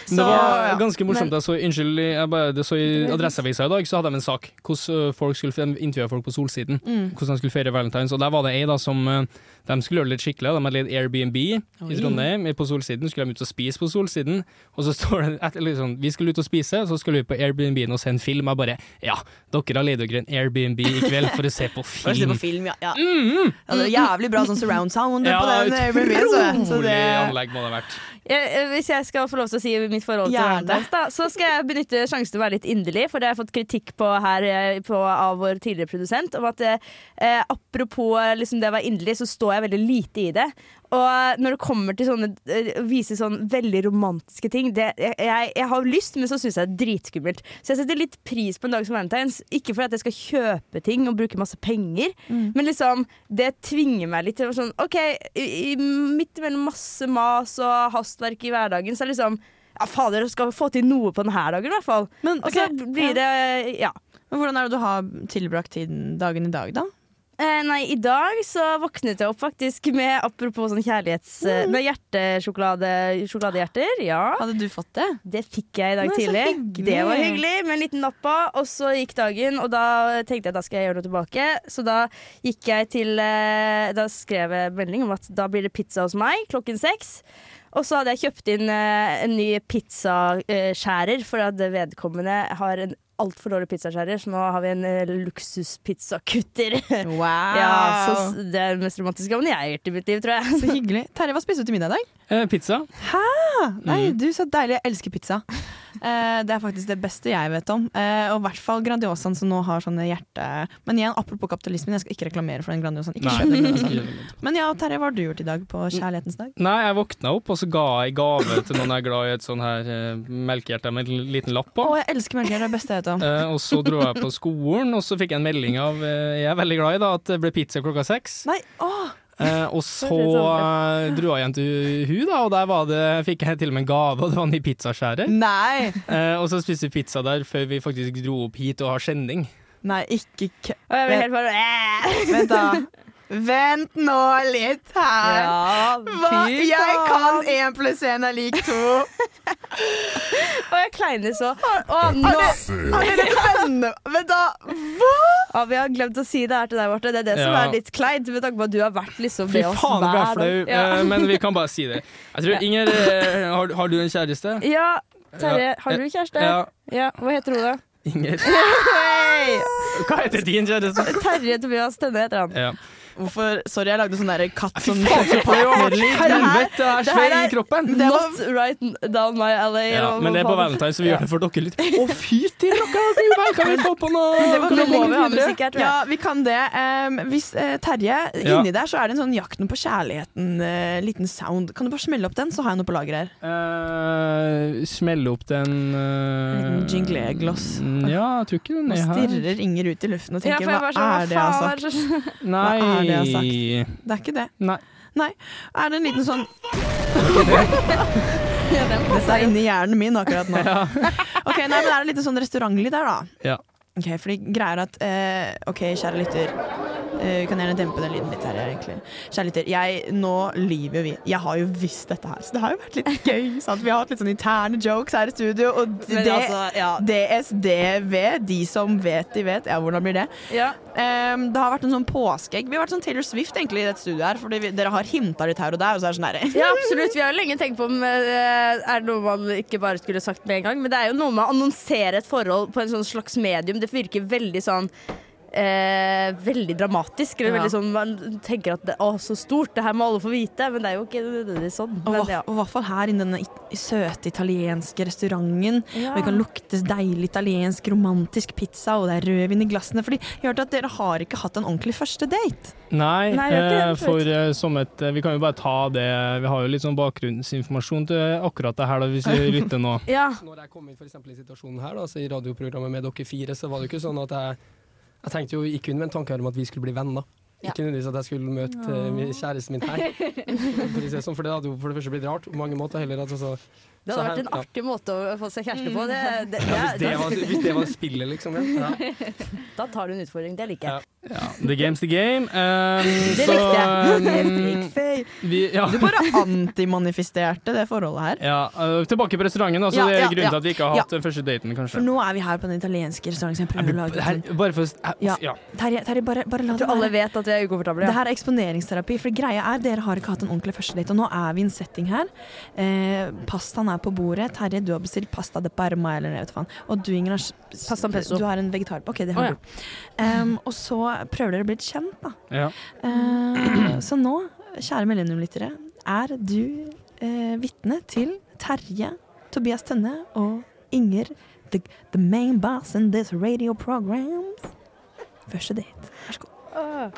[SPEAKER 4] Så,
[SPEAKER 3] Det var
[SPEAKER 4] ja.
[SPEAKER 3] ganske morsomt. Jeg så, unnskyld, jeg bare, det så I Adresseavisa i dag så hadde de en sak hvordan eh, folk skulle intervjue folk på Solsiden.
[SPEAKER 4] Mm.
[SPEAKER 3] Hvordan de skulle feire valentines. Og der var det ei da som eh, de skulle gjøre det litt skikkelig. De hadde leid Airbnb i Trondheim, eh, på Solsiden. Skulle de ut og spise på Solsiden. Og så står det et, eller sånn, Vi skulle ut og spise, så skulle vi på Airbnb-en og se en film. Jeg bare Ja, dere har leid dere en Airbnb i kveld for å se på
[SPEAKER 4] Bare se
[SPEAKER 3] film.
[SPEAKER 4] på film, ja, ja. ja Det er jævlig bra sånn surround sound
[SPEAKER 3] Mm-hmm. Ja,
[SPEAKER 4] På den eh, Airbnb, så, så
[SPEAKER 3] Rolig
[SPEAKER 4] det
[SPEAKER 3] anlegg må det ha vært.
[SPEAKER 5] Jeg, eh, hvis jeg skal få lov til å si mitt forhold til
[SPEAKER 4] Gjerne.
[SPEAKER 5] Valentine's, da, så skal jeg benytte sjansen til å være litt inderlig, for det har jeg fått kritikk på her eh, på, av vår tidligere produsent. Om at eh, eh, Apropos eh, liksom det å være inderlig, så står jeg veldig lite i det. Og eh, når det kommer til sånne, eh, å vise sånn veldig romantiske ting det, jeg, jeg, jeg har lyst, men så syns jeg det er dritskummelt. Så jeg setter litt pris på en dag som Valentine's. Ikke fordi at jeg skal kjøpe ting og bruke masse penger,
[SPEAKER 4] Mm.
[SPEAKER 5] men liksom det tvinger meg litt til å være sånn OK, i, i, midt mellom masse mas og hastverk i hverdagen, så er det liksom ja, fader, jeg skal få til noe på denne dagen, i hvert fall.
[SPEAKER 4] Men,
[SPEAKER 5] Og
[SPEAKER 4] ok,
[SPEAKER 5] så
[SPEAKER 4] ja.
[SPEAKER 5] blir det Ja.
[SPEAKER 4] Men hvordan er det du har tilbrakt tiden, dagen i dag da?
[SPEAKER 5] Eh, nei, i dag så våknet jeg opp faktisk med Apropos sånn kjærlighets...
[SPEAKER 4] Mm.
[SPEAKER 5] eh, Med hjertesjokolade Sjokoladehjerter. Ja.
[SPEAKER 4] Hadde du fått det?
[SPEAKER 5] Det fikk jeg i dag
[SPEAKER 4] Nei, så
[SPEAKER 5] tidlig.
[SPEAKER 4] hyggelig.
[SPEAKER 5] Det var hyggelig, med en liten napp på. Og så gikk dagen, og da tenkte jeg da skal jeg gjøre noe tilbake. Så da gikk jeg til eh, Da skrev jeg melding om at da blir det pizza hos meg klokken seks. Og så hadde jeg kjøpt inn eh, en ny pizzaskjærer, for at vedkommende har en altfor dårlig pizzaskjærer, så nå har vi en eh, luksuspizzakutter.
[SPEAKER 4] Wow
[SPEAKER 5] Ja, så s- Det er den mest romantiske gaven jeg har gjort i mitt liv, tror jeg.
[SPEAKER 4] så hyggelig Terje, hva spiste du til middag i dag?
[SPEAKER 3] Eh, pizza.
[SPEAKER 4] Nei, du så deilig. Jeg elsker pizza. Eh, det er faktisk det beste jeg vet om. Eh, og i hvert fall Grandiosaen som nå har sånne hjerte... Men igjen, apropos kapitalismen, jeg skal ikke reklamere for den Grandiosaen. Ikke kjøp den Grandiosaen. Men ja, Terje, hva har du gjort i dag på kjærlighetens dag?
[SPEAKER 3] Nei, jeg våkna opp, og så ga jeg gave til noen jeg er glad i, et sånn her eh, melkehjerte med en liten lapp
[SPEAKER 4] Å,
[SPEAKER 3] på.
[SPEAKER 4] jeg elsker melk. Det er det beste jeg vet om.
[SPEAKER 3] Eh, og så dro jeg på skolen, og så fikk jeg en melding av eh, jeg er veldig glad i da, at det ble pizza klokka seks.
[SPEAKER 4] Nei, åh!
[SPEAKER 3] Eh, og så
[SPEAKER 5] Det sånn er litt
[SPEAKER 3] eh, dro jeg hjem til hun, da, og der var det, fikk jeg til og med en gave, og det var en ny pizzaskjærer.
[SPEAKER 4] Nei!
[SPEAKER 3] Eh, og så spiste vi pizza der før vi faktisk dro opp hit og har sending.
[SPEAKER 4] Nei, ikke kø...
[SPEAKER 5] Og jeg ble helt bare eh.
[SPEAKER 4] Vent, da. Vent nå litt her. Hva? Jeg kan én pluss én er lik to.
[SPEAKER 5] Og jeg kleiner så. Og nå
[SPEAKER 4] Har dere venner Men da
[SPEAKER 5] Ja, vi har glemt å si det her til deg, Marte. Det er det som
[SPEAKER 3] Ja.
[SPEAKER 5] er litt kleint, med tanke på at du har vært liksom
[SPEAKER 3] Fy
[SPEAKER 5] ved oss
[SPEAKER 3] faen, du er
[SPEAKER 5] hver
[SPEAKER 3] flau,
[SPEAKER 5] dag. Ja.
[SPEAKER 3] eh, men vi kan bare si det. Jeg tror, Inger, eh, har, har du en kjæreste?
[SPEAKER 5] ja, Terje, har du kjæreste? Ja.
[SPEAKER 3] Ja,
[SPEAKER 5] Hva heter hun, da?
[SPEAKER 3] Inger.
[SPEAKER 5] Hei!
[SPEAKER 3] Hva heter din kjæreste?
[SPEAKER 5] Terje Tobias Tønne heter han.
[SPEAKER 3] Ja.
[SPEAKER 4] Hvorfor? Sorry, jeg lagde sånn der katt som
[SPEAKER 3] Helvete, det er
[SPEAKER 4] det her
[SPEAKER 3] svei i
[SPEAKER 4] er-
[SPEAKER 3] kroppen!
[SPEAKER 5] Det var- Not right down my alley.
[SPEAKER 3] Ja,
[SPEAKER 5] eller hva
[SPEAKER 3] men det er på
[SPEAKER 5] faen.
[SPEAKER 3] valentine, så vi gjør det for dere litt. Å, fy til dere! det blir vel, Kan vi få på noe?
[SPEAKER 4] Det var
[SPEAKER 3] Kan vi gå
[SPEAKER 4] veldig
[SPEAKER 5] Veldig
[SPEAKER 3] videre?
[SPEAKER 5] god musikk her, tror jeg.
[SPEAKER 4] Ja, vi kan det. Ehm, hvis eh, Terje,
[SPEAKER 3] Ja.
[SPEAKER 4] inni der så er det en sånn Jakten på kjærligheten, eh, liten sound. Kan du bare smelle opp den, så har jeg noe på lager her.
[SPEAKER 3] Eh, smelle opp den uh,
[SPEAKER 4] Liten jinglegloss.
[SPEAKER 3] Ja, jeg tror ikke den
[SPEAKER 4] Nå
[SPEAKER 3] er her.
[SPEAKER 4] stirrer Inger ut i luften og
[SPEAKER 5] Ja,
[SPEAKER 4] tenker
[SPEAKER 5] for jeg
[SPEAKER 4] hva
[SPEAKER 5] var sånn,
[SPEAKER 4] er det jeg har
[SPEAKER 5] faen er
[SPEAKER 4] sagt?
[SPEAKER 5] det som-
[SPEAKER 3] Nei.
[SPEAKER 4] Hva er det jeg har Det er ikke det.
[SPEAKER 3] Nei.
[SPEAKER 4] Er det en liten sånn Dette er inni hjernen min akkurat nå. Ok, nei, men Er det en liten sånn restaurantlyd der, da?
[SPEAKER 3] Ja.
[SPEAKER 4] Ok, fordi greier at eh, Ok, kjære lytter. Eh, vi kan gjerne dempe den lyden litt her, egentlig. Kjære lytter, jeg, nå lyver vi. Jeg har jo visst dette her, så det har jo vært litt gøy. sant? Vi har hatt litt sånn interne jokes her i studio, og d-
[SPEAKER 5] Men
[SPEAKER 4] det,
[SPEAKER 5] altså, ja.
[SPEAKER 4] DSDV, de som vet, de vet. Ja, hvordan blir det?
[SPEAKER 5] ja.
[SPEAKER 4] Ehm, det har vært en sånn påskeegg. Vi har vært sånn Taylor Swift egentlig i dette studioet her, fordi vi, dere har hinta litt her og der. Og så er det sånn her.
[SPEAKER 5] Ja, absolutt. Vi har jo lenge tenkt på om eh, er det noe man ikke bare skulle sagt med en gang. Men det er jo noe med å annonsere et forhold på en sånn slags medium. Det virker veldig sånn eh, veldig dramatisk. Eller
[SPEAKER 4] Ja.
[SPEAKER 5] veldig sånn, man tenker at det, å, så stort, det her må alle få vite. Men det er jo ikke nødvendigvis sånn.
[SPEAKER 4] Og
[SPEAKER 5] Men,
[SPEAKER 4] hva-
[SPEAKER 5] ja.
[SPEAKER 4] og i hvert fall her i denne it- søte italienske restauranten. Og vi
[SPEAKER 5] Ah.
[SPEAKER 4] kan lukte deilig italiensk romantisk pizza, og det er rødvin i glassene. Fordi jeg hørte at dere har ikke hatt en ordentlig første date.
[SPEAKER 3] Nei,
[SPEAKER 5] Nei, det er ikke
[SPEAKER 3] eh,
[SPEAKER 5] det, for
[SPEAKER 3] for eh, som et eh, Vi kan jo bare ta det Vi har jo litt sånn bakgrunnsinformasjon til eh, akkurat det her, da, hvis vi lytter nå.
[SPEAKER 5] ja.
[SPEAKER 8] Når jeg kom inn for eksempel, i situasjonen her, da, så i radioprogrammet med dere fire, så var det jo ikke sånn at jeg Jeg tenkte jo ikke kun med en tanke her om at vi skulle bli venner.
[SPEAKER 5] Ja.
[SPEAKER 8] Ikke nødvendigvis at jeg skulle møte eh, min- kjæresten min her. For, å si det sånn, for det hadde jo for det første blitt rart på mange måter. heller at altså,
[SPEAKER 5] Det hadde
[SPEAKER 8] så
[SPEAKER 5] vært
[SPEAKER 8] her-
[SPEAKER 5] en
[SPEAKER 8] ja.
[SPEAKER 5] artig måte å få seg kjæreste på. Det,
[SPEAKER 4] Mm.
[SPEAKER 5] det,
[SPEAKER 8] Hvis
[SPEAKER 5] det,
[SPEAKER 8] det var, hvis det var spillet, liksom. Ja. Ja.
[SPEAKER 5] da tar du en utfordring. Det liker jeg.
[SPEAKER 3] The game's the game. Um,
[SPEAKER 5] Det
[SPEAKER 3] så,
[SPEAKER 5] likte
[SPEAKER 3] um, vi, ja.
[SPEAKER 4] Du bare antimanifesterte det forholdet her.
[SPEAKER 3] ja eh, tilbake på restauranten, altså.
[SPEAKER 4] Ja,
[SPEAKER 3] det er
[SPEAKER 4] ja,
[SPEAKER 3] grunnen
[SPEAKER 4] ja.
[SPEAKER 3] til at vi ikke har hatt den første daten,
[SPEAKER 4] For
[SPEAKER 3] kanskje.
[SPEAKER 4] nå er vi her på den italienske restauranten som jeg
[SPEAKER 3] Jeg
[SPEAKER 4] prøver å
[SPEAKER 3] blir-
[SPEAKER 4] lage.
[SPEAKER 3] her,
[SPEAKER 4] litt sånn-
[SPEAKER 3] bare for å-
[SPEAKER 4] Ja.
[SPEAKER 3] ja.
[SPEAKER 4] Terje, Terje, bare, bare la
[SPEAKER 5] Jeg tror
[SPEAKER 4] være.
[SPEAKER 5] alle vet at vi er ukomfortable.
[SPEAKER 4] Det
[SPEAKER 5] Ja.
[SPEAKER 4] her er eksponeringsterapi. For greia er, Dere har ikke hatt en ordentlig første date, og nå er vi i en setting her. Eh, pastaen er på bordet. Terje, du har bestilt pasta de parma, eller jeg vet faen. Og du, Inger, har s- s-
[SPEAKER 5] Pasta pesto.
[SPEAKER 4] Du har en vegetar... OK, det har
[SPEAKER 5] Å, ja.
[SPEAKER 4] du. Em, og så prøver dere å bli kjent, da.
[SPEAKER 3] Ja.
[SPEAKER 4] Eh, så nå, kjære millenniumlyttere, er du eh, vitne til Terje, Tobias Tønne og Inger, the, the main boss in this radio programs. Første date. Vær så god.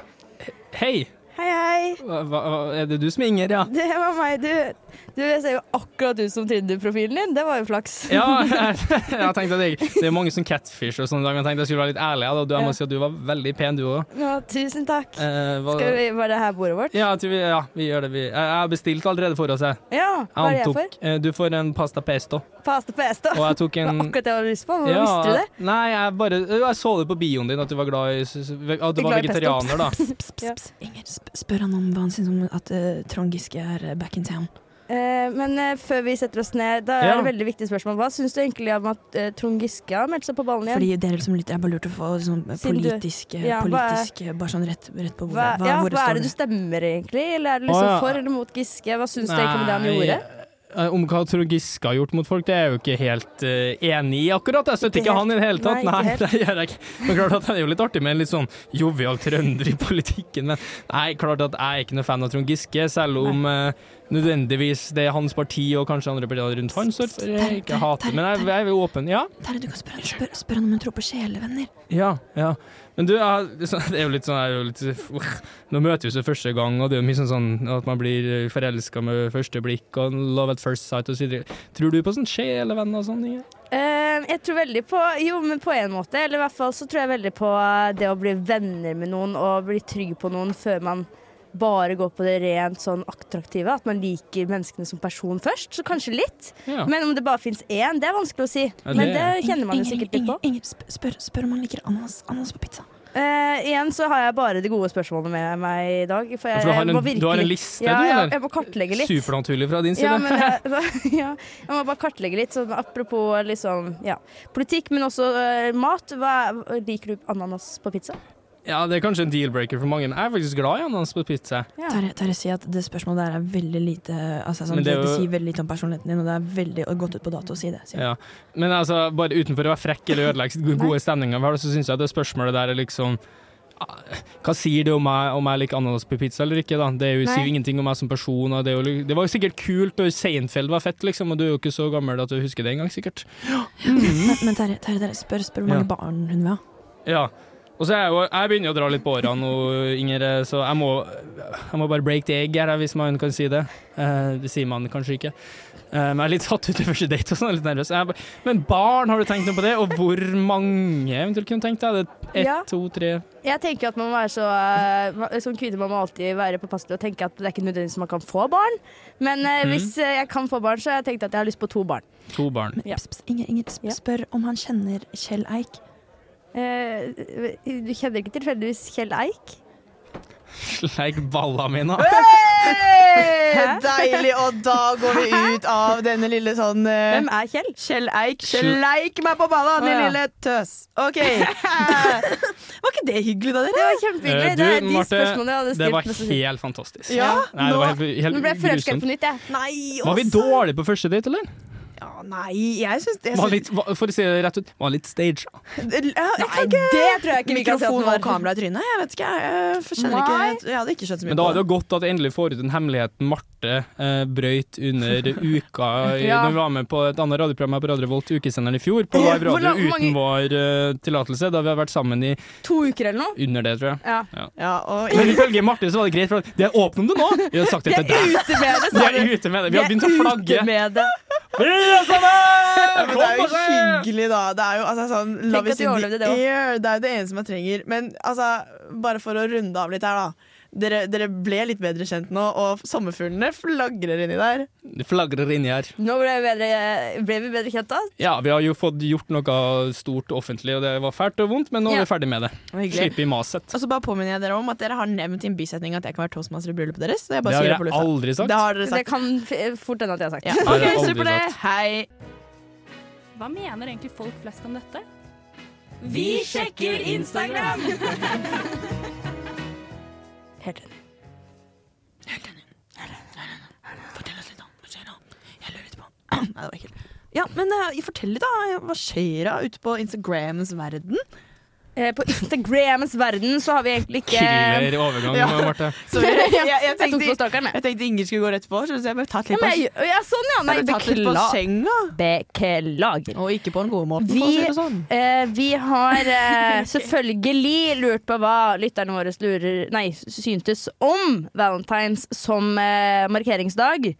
[SPEAKER 3] Hei!
[SPEAKER 5] Hei, hei.
[SPEAKER 3] Hva, hva, er det du som er Inger, ja?
[SPEAKER 5] Det var meg. Du, du jeg ser jo akkurat ut som Tinder-profilen din. Det var jo flaks.
[SPEAKER 3] Ja, jeg, jeg tenkte at jeg, det er mange som catfish og sånne dager. Jeg tenkte jeg skulle være litt ærlig. ja, Da. Du, jeg må
[SPEAKER 5] Ja.
[SPEAKER 3] si at du var veldig pen, du òg.
[SPEAKER 5] Ja, tusen takk. Skal vi Var det her bordet vårt?
[SPEAKER 3] ja, jeg tror vi, ja, vi gjør det. Vi. Jeg jeg har bestilt allerede for oss. Jeg.
[SPEAKER 5] Ja. Hva er
[SPEAKER 3] Jeg
[SPEAKER 5] det jeg for?
[SPEAKER 3] antok eh, Du får en pasta pesto.
[SPEAKER 5] Pasta pesto.
[SPEAKER 3] Og jeg tok
[SPEAKER 5] Det
[SPEAKER 3] en
[SPEAKER 5] var akkurat det jeg hadde lyst på. Hvordan visste du det?
[SPEAKER 3] Nei, jeg bare Jeg så det på bioen din, at du var glad i s- s- At du var
[SPEAKER 5] Glad i pesto.
[SPEAKER 3] vegetarianer, da.
[SPEAKER 4] Pss, pss, pss, pss. Inger, sp spør han om hva han syns om at eh, Trond Giske er eh, back in town.
[SPEAKER 5] Eh, men eh, før vi setter oss ned, da
[SPEAKER 3] Ja.
[SPEAKER 5] er det veldig viktig spørsmål. Hva syns du egentlig om at eh, Trond Giske har meldt seg på ballen igjen?
[SPEAKER 4] Fordi dere som lytter, jeg bare lurte på sånn,
[SPEAKER 5] Siden du-
[SPEAKER 4] politisk, eh,
[SPEAKER 5] Ja, hva er-
[SPEAKER 4] politisk eh, Bare sånn rett, rett på
[SPEAKER 5] hva,
[SPEAKER 4] bordet. Hva,
[SPEAKER 5] ja,
[SPEAKER 4] hvor
[SPEAKER 5] hva
[SPEAKER 4] står
[SPEAKER 5] er det du
[SPEAKER 4] det?
[SPEAKER 5] stemmer egentlig? Eller er
[SPEAKER 3] Å,
[SPEAKER 5] du liksom
[SPEAKER 3] ja.
[SPEAKER 5] for eller mot Giske? Hva syns du egentlig om det han
[SPEAKER 3] Nei,
[SPEAKER 5] gjorde?
[SPEAKER 3] eh, Om hva Trond Giske har gjort mot folk, det er jeg jo ikke helt eh, enig i akkurat. Jeg støtter
[SPEAKER 5] Ikke
[SPEAKER 3] ikke han i det hele tatt. Nei,
[SPEAKER 5] Nei, ikke helt.
[SPEAKER 3] det gjør jeg ikke. Men klart at det er jo litt artig med en litt sånn jovial trønder i politikken, men nei, klart at jeg er ikke noe fan av Trond Giske, selv om eh, nødvendigvis det er hans parti og kanskje andre partier rundt han står for. Jeg ikke hater, men jeg, jeg er jo åpen. Ja.
[SPEAKER 4] Terje, du kan spørre, spør, spør han om hun tror på sjelevenner.
[SPEAKER 3] Ja, ja. Men du, jeg har- det er sånn- det er jo litt sånn jeg er jo litt, Nå møter vi oss første gang, og det er jo mye sånn, sånn at man blir forelska med første blikk, og love at first sight og så videre. Tror du på sånn sjelevenn og sånn? Inge?
[SPEAKER 5] Eh, jeg tror veldig på Jo, men på en måte. Eller i hvert fall så tror jeg veldig på eh, det å bli venner med noen og bli trygg på noen før man bare går på det rent sånn attraktive. At man liker menneskene som person først. Så kanskje litt.
[SPEAKER 3] Ja.
[SPEAKER 5] Men om det bare fins én, det er vanskelig å si.
[SPEAKER 3] Ja,
[SPEAKER 5] Men
[SPEAKER 3] det-
[SPEAKER 5] det kjenner man jo
[SPEAKER 4] Inger,
[SPEAKER 5] sikkert litt
[SPEAKER 4] Inger,
[SPEAKER 5] på.
[SPEAKER 4] Inger, sp- spør, spør om han liker ananas, ananas på pizza.
[SPEAKER 5] Eh, igjen så har jeg bare de gode spørsmålene med meg i dag. For jeg,
[SPEAKER 3] For du har
[SPEAKER 5] jeg eh, må
[SPEAKER 3] en,
[SPEAKER 5] virkelig
[SPEAKER 3] du har en liste,
[SPEAKER 5] ja,
[SPEAKER 3] du,
[SPEAKER 5] ja,
[SPEAKER 3] eller?
[SPEAKER 5] jeg må kartlegge litt.
[SPEAKER 3] Supernaturlig fra din side.
[SPEAKER 5] Ja, men eh, jeg, ja, jeg må bare kartlegge litt. Sånn, apropos liksom, ja, politikk, men også eh, mat. Hva, liker du ananas på pizza?
[SPEAKER 3] Ja, det er kanskje en deal-breaker for mange, men jeg er faktisk glad i ananas på pizza.
[SPEAKER 5] Ja.
[SPEAKER 4] Terje, Terje sier at det spørsmålet der er veldig lite altså, sånn,
[SPEAKER 3] Men
[SPEAKER 4] det,
[SPEAKER 3] det er jo-
[SPEAKER 4] sier veldig lite om personligheten din, og det er veldig gått ut på dato å si det. sier han.
[SPEAKER 3] Ja. Men altså, bare utenfor å være frekk eller ødelegge gode stemninger, hva er det så syns jeg det spørsmålet der er liksom Hva sier det om meg om jeg liker ananas på pizza eller ikke? da? Det er jo,
[SPEAKER 5] Nei.
[SPEAKER 3] sier jo ingenting om meg som person. Og det, er jo, li- det var jo sikkert kult, og Seinfeld var fett, liksom, og du er jo ikke så gammel at du husker det engang, sikkert.
[SPEAKER 1] Men, men Terje, Terje, Terje, spør, spør hvor
[SPEAKER 3] Mm. Ja.
[SPEAKER 1] mange barn hun vil ha.
[SPEAKER 3] Ja. Og så er jeg jo Jeg begynner å dra litt på årene nå, Inger, så jeg må, jeg må bare break the egg her, hvis man kan si det. Eh, Det sier man kanskje ikke. Eh, Men jeg er litt satt ut i første date og sånn, jeg er litt nervøs. Jeg, er bare- men barn, har du tenkt noe på det? Og hvor mange eventuelt kunne du tenkt deg? Det er Ett,
[SPEAKER 5] Ja.
[SPEAKER 3] to, tre
[SPEAKER 5] Jeg tenker at man må være så eh, ma- Som kvinne må man alltid være påpasselig og tenke at det er ikke nødvendigvis man kan få barn. Men eh,
[SPEAKER 3] Mhm.
[SPEAKER 5] hvis eh, jeg kan få barn, så har jeg tenkt at jeg har lyst på to barn.
[SPEAKER 3] To barn.
[SPEAKER 1] Men, pss, pss, Inger, Inger sp
[SPEAKER 5] Ja.
[SPEAKER 1] spør om han kjenner Kjell Eik.
[SPEAKER 5] Eh, du kjenner ikke tilfeldigvis Kjell Eik?
[SPEAKER 3] Sleik balla mine.
[SPEAKER 5] Hæ?
[SPEAKER 4] Deilig, og da går vi ut av denne lille sånn eh,
[SPEAKER 5] Hvem er Kjell?
[SPEAKER 4] Kjell Eik, Kjell Eik meg på balla, din
[SPEAKER 5] Å, ja.
[SPEAKER 4] lille tøs. OK. Var ikke det hyggelig, da,
[SPEAKER 5] Det
[SPEAKER 4] dere?
[SPEAKER 5] var kjempehyggelig.
[SPEAKER 3] Eh,
[SPEAKER 5] Det
[SPEAKER 3] du,
[SPEAKER 5] er de
[SPEAKER 3] Marte,
[SPEAKER 5] spørsmålene jeg hadde
[SPEAKER 3] Det var
[SPEAKER 5] stilt. mest sannsynlig.
[SPEAKER 3] helt fantastisk.
[SPEAKER 4] Ja,
[SPEAKER 3] Nei, det var
[SPEAKER 4] nå
[SPEAKER 3] helt,
[SPEAKER 5] Nå
[SPEAKER 3] helt
[SPEAKER 5] ble jeg forelsket
[SPEAKER 3] grusomt.
[SPEAKER 5] på nytt, jeg.
[SPEAKER 4] Nei,
[SPEAKER 3] Var vi
[SPEAKER 4] også-
[SPEAKER 3] dårlige på første date, eller?
[SPEAKER 4] Ja, nei, jeg syns det
[SPEAKER 3] Var litt, var- for å si det rett ut, var litt staged.
[SPEAKER 4] Jeg kan
[SPEAKER 5] Nei,
[SPEAKER 4] ikke
[SPEAKER 5] det tror jeg ikke vi kan si at
[SPEAKER 4] Mikrofon
[SPEAKER 5] den
[SPEAKER 4] og
[SPEAKER 5] var.
[SPEAKER 4] kamera i trynet? Jeg vet ikke. Jeg, skjønner ikke.
[SPEAKER 5] Nei.
[SPEAKER 4] Jeg, jeg hadde ikke skjønt så mye
[SPEAKER 3] Men da
[SPEAKER 4] på
[SPEAKER 3] er det jo godt at jeg endelig får ut den hemmeligheten Marte eh, brøyt under uka i-
[SPEAKER 5] Ja.
[SPEAKER 3] Når vi var med på et annet radioprogram her på Radio Volt, ukesenderen i fjor, på Live Radio
[SPEAKER 5] Hvor lang- hvor mange-
[SPEAKER 3] uten vår eh, tillatelse, da vi har vært sammen i
[SPEAKER 5] To uker eller noe.
[SPEAKER 3] under det, tror jeg.
[SPEAKER 5] Ja.
[SPEAKER 4] Ja, og
[SPEAKER 3] Men ifølge Marte så var det greit, for det er åpent om det nå! Vi har sagt det til deg.
[SPEAKER 5] Ute med det,
[SPEAKER 3] Vi
[SPEAKER 5] sa
[SPEAKER 3] er
[SPEAKER 5] du.
[SPEAKER 3] ute med det. Vi har begynt å flagge.
[SPEAKER 5] Ute med det.
[SPEAKER 3] Vi er sammen!
[SPEAKER 4] Men det er
[SPEAKER 3] Kom
[SPEAKER 4] jo
[SPEAKER 3] på det!
[SPEAKER 4] hyggelig, da. Det er jo altså, sånn
[SPEAKER 5] at
[SPEAKER 4] Love is
[SPEAKER 5] de
[SPEAKER 4] in
[SPEAKER 5] overlevde
[SPEAKER 4] the
[SPEAKER 5] det også.
[SPEAKER 4] air. Det er jo det eneste man trenger. Men altså, bare for å runde av litt her, da. Dere, dere ble litt bedre kjent nå, og sommerfuglene flagrer inni der.
[SPEAKER 3] Det flagrer inni her.
[SPEAKER 5] Nå ble vi bedre, ble vi bedre kjent da.
[SPEAKER 3] Ja, vi har jo fått gjort noe stort offentlig, og det var fælt og vondt, men nå er vi ferdig med det. Slipp i maset.
[SPEAKER 4] Og så bare påminner jeg dere om at dere har nevnt i en bisetning at jeg kan være toastmaster i bryllupet deres. Så jeg
[SPEAKER 3] Det
[SPEAKER 4] bare
[SPEAKER 3] har
[SPEAKER 4] sier det på
[SPEAKER 3] jeg
[SPEAKER 4] lufta.
[SPEAKER 3] aldri sagt.
[SPEAKER 4] Det har dere
[SPEAKER 5] Det
[SPEAKER 4] sagt.
[SPEAKER 5] kan f- fort hende at jeg har sagt
[SPEAKER 4] Ja.
[SPEAKER 3] har
[SPEAKER 4] OK,
[SPEAKER 3] jeg aldri
[SPEAKER 4] super det.
[SPEAKER 3] sagt.
[SPEAKER 4] Hei.
[SPEAKER 9] Hva mener egentlig folk flest om dette?
[SPEAKER 1] Vi sjekker Instagram!
[SPEAKER 5] Helt enig.
[SPEAKER 4] Fortell oss litt om hva skjer da. Jeg lurer litt på Nei, det var ekkelt. Ja, men eh, fortell litt, da. Hva skjer da ute på Instagrams verden?
[SPEAKER 5] Eh, På Instagrams verden så har vi egentlig ikke
[SPEAKER 3] Killer overgang,
[SPEAKER 4] Ja.
[SPEAKER 3] Marte.
[SPEAKER 4] Så jeg, jeg, jeg,
[SPEAKER 5] Jeg tok
[SPEAKER 4] tenkte,
[SPEAKER 5] på stakeren, jeg.
[SPEAKER 4] jeg tenkte Inger skulle gå rett på, så jeg bare tatt
[SPEAKER 5] Ja,
[SPEAKER 4] litt på
[SPEAKER 5] men jeg. Ja, sånn, ja. Nei,
[SPEAKER 4] Jeg tatt litt på
[SPEAKER 5] beklager.
[SPEAKER 4] senga.
[SPEAKER 5] Beklager.
[SPEAKER 4] Og ikke på den gode måten,
[SPEAKER 5] Vi-
[SPEAKER 4] for å si det sånn.
[SPEAKER 5] Eh, vi har eh, selvfølgelig lurt på hva lytterne våre lurer, nei, syntes om valentines som eh, markeringsdag.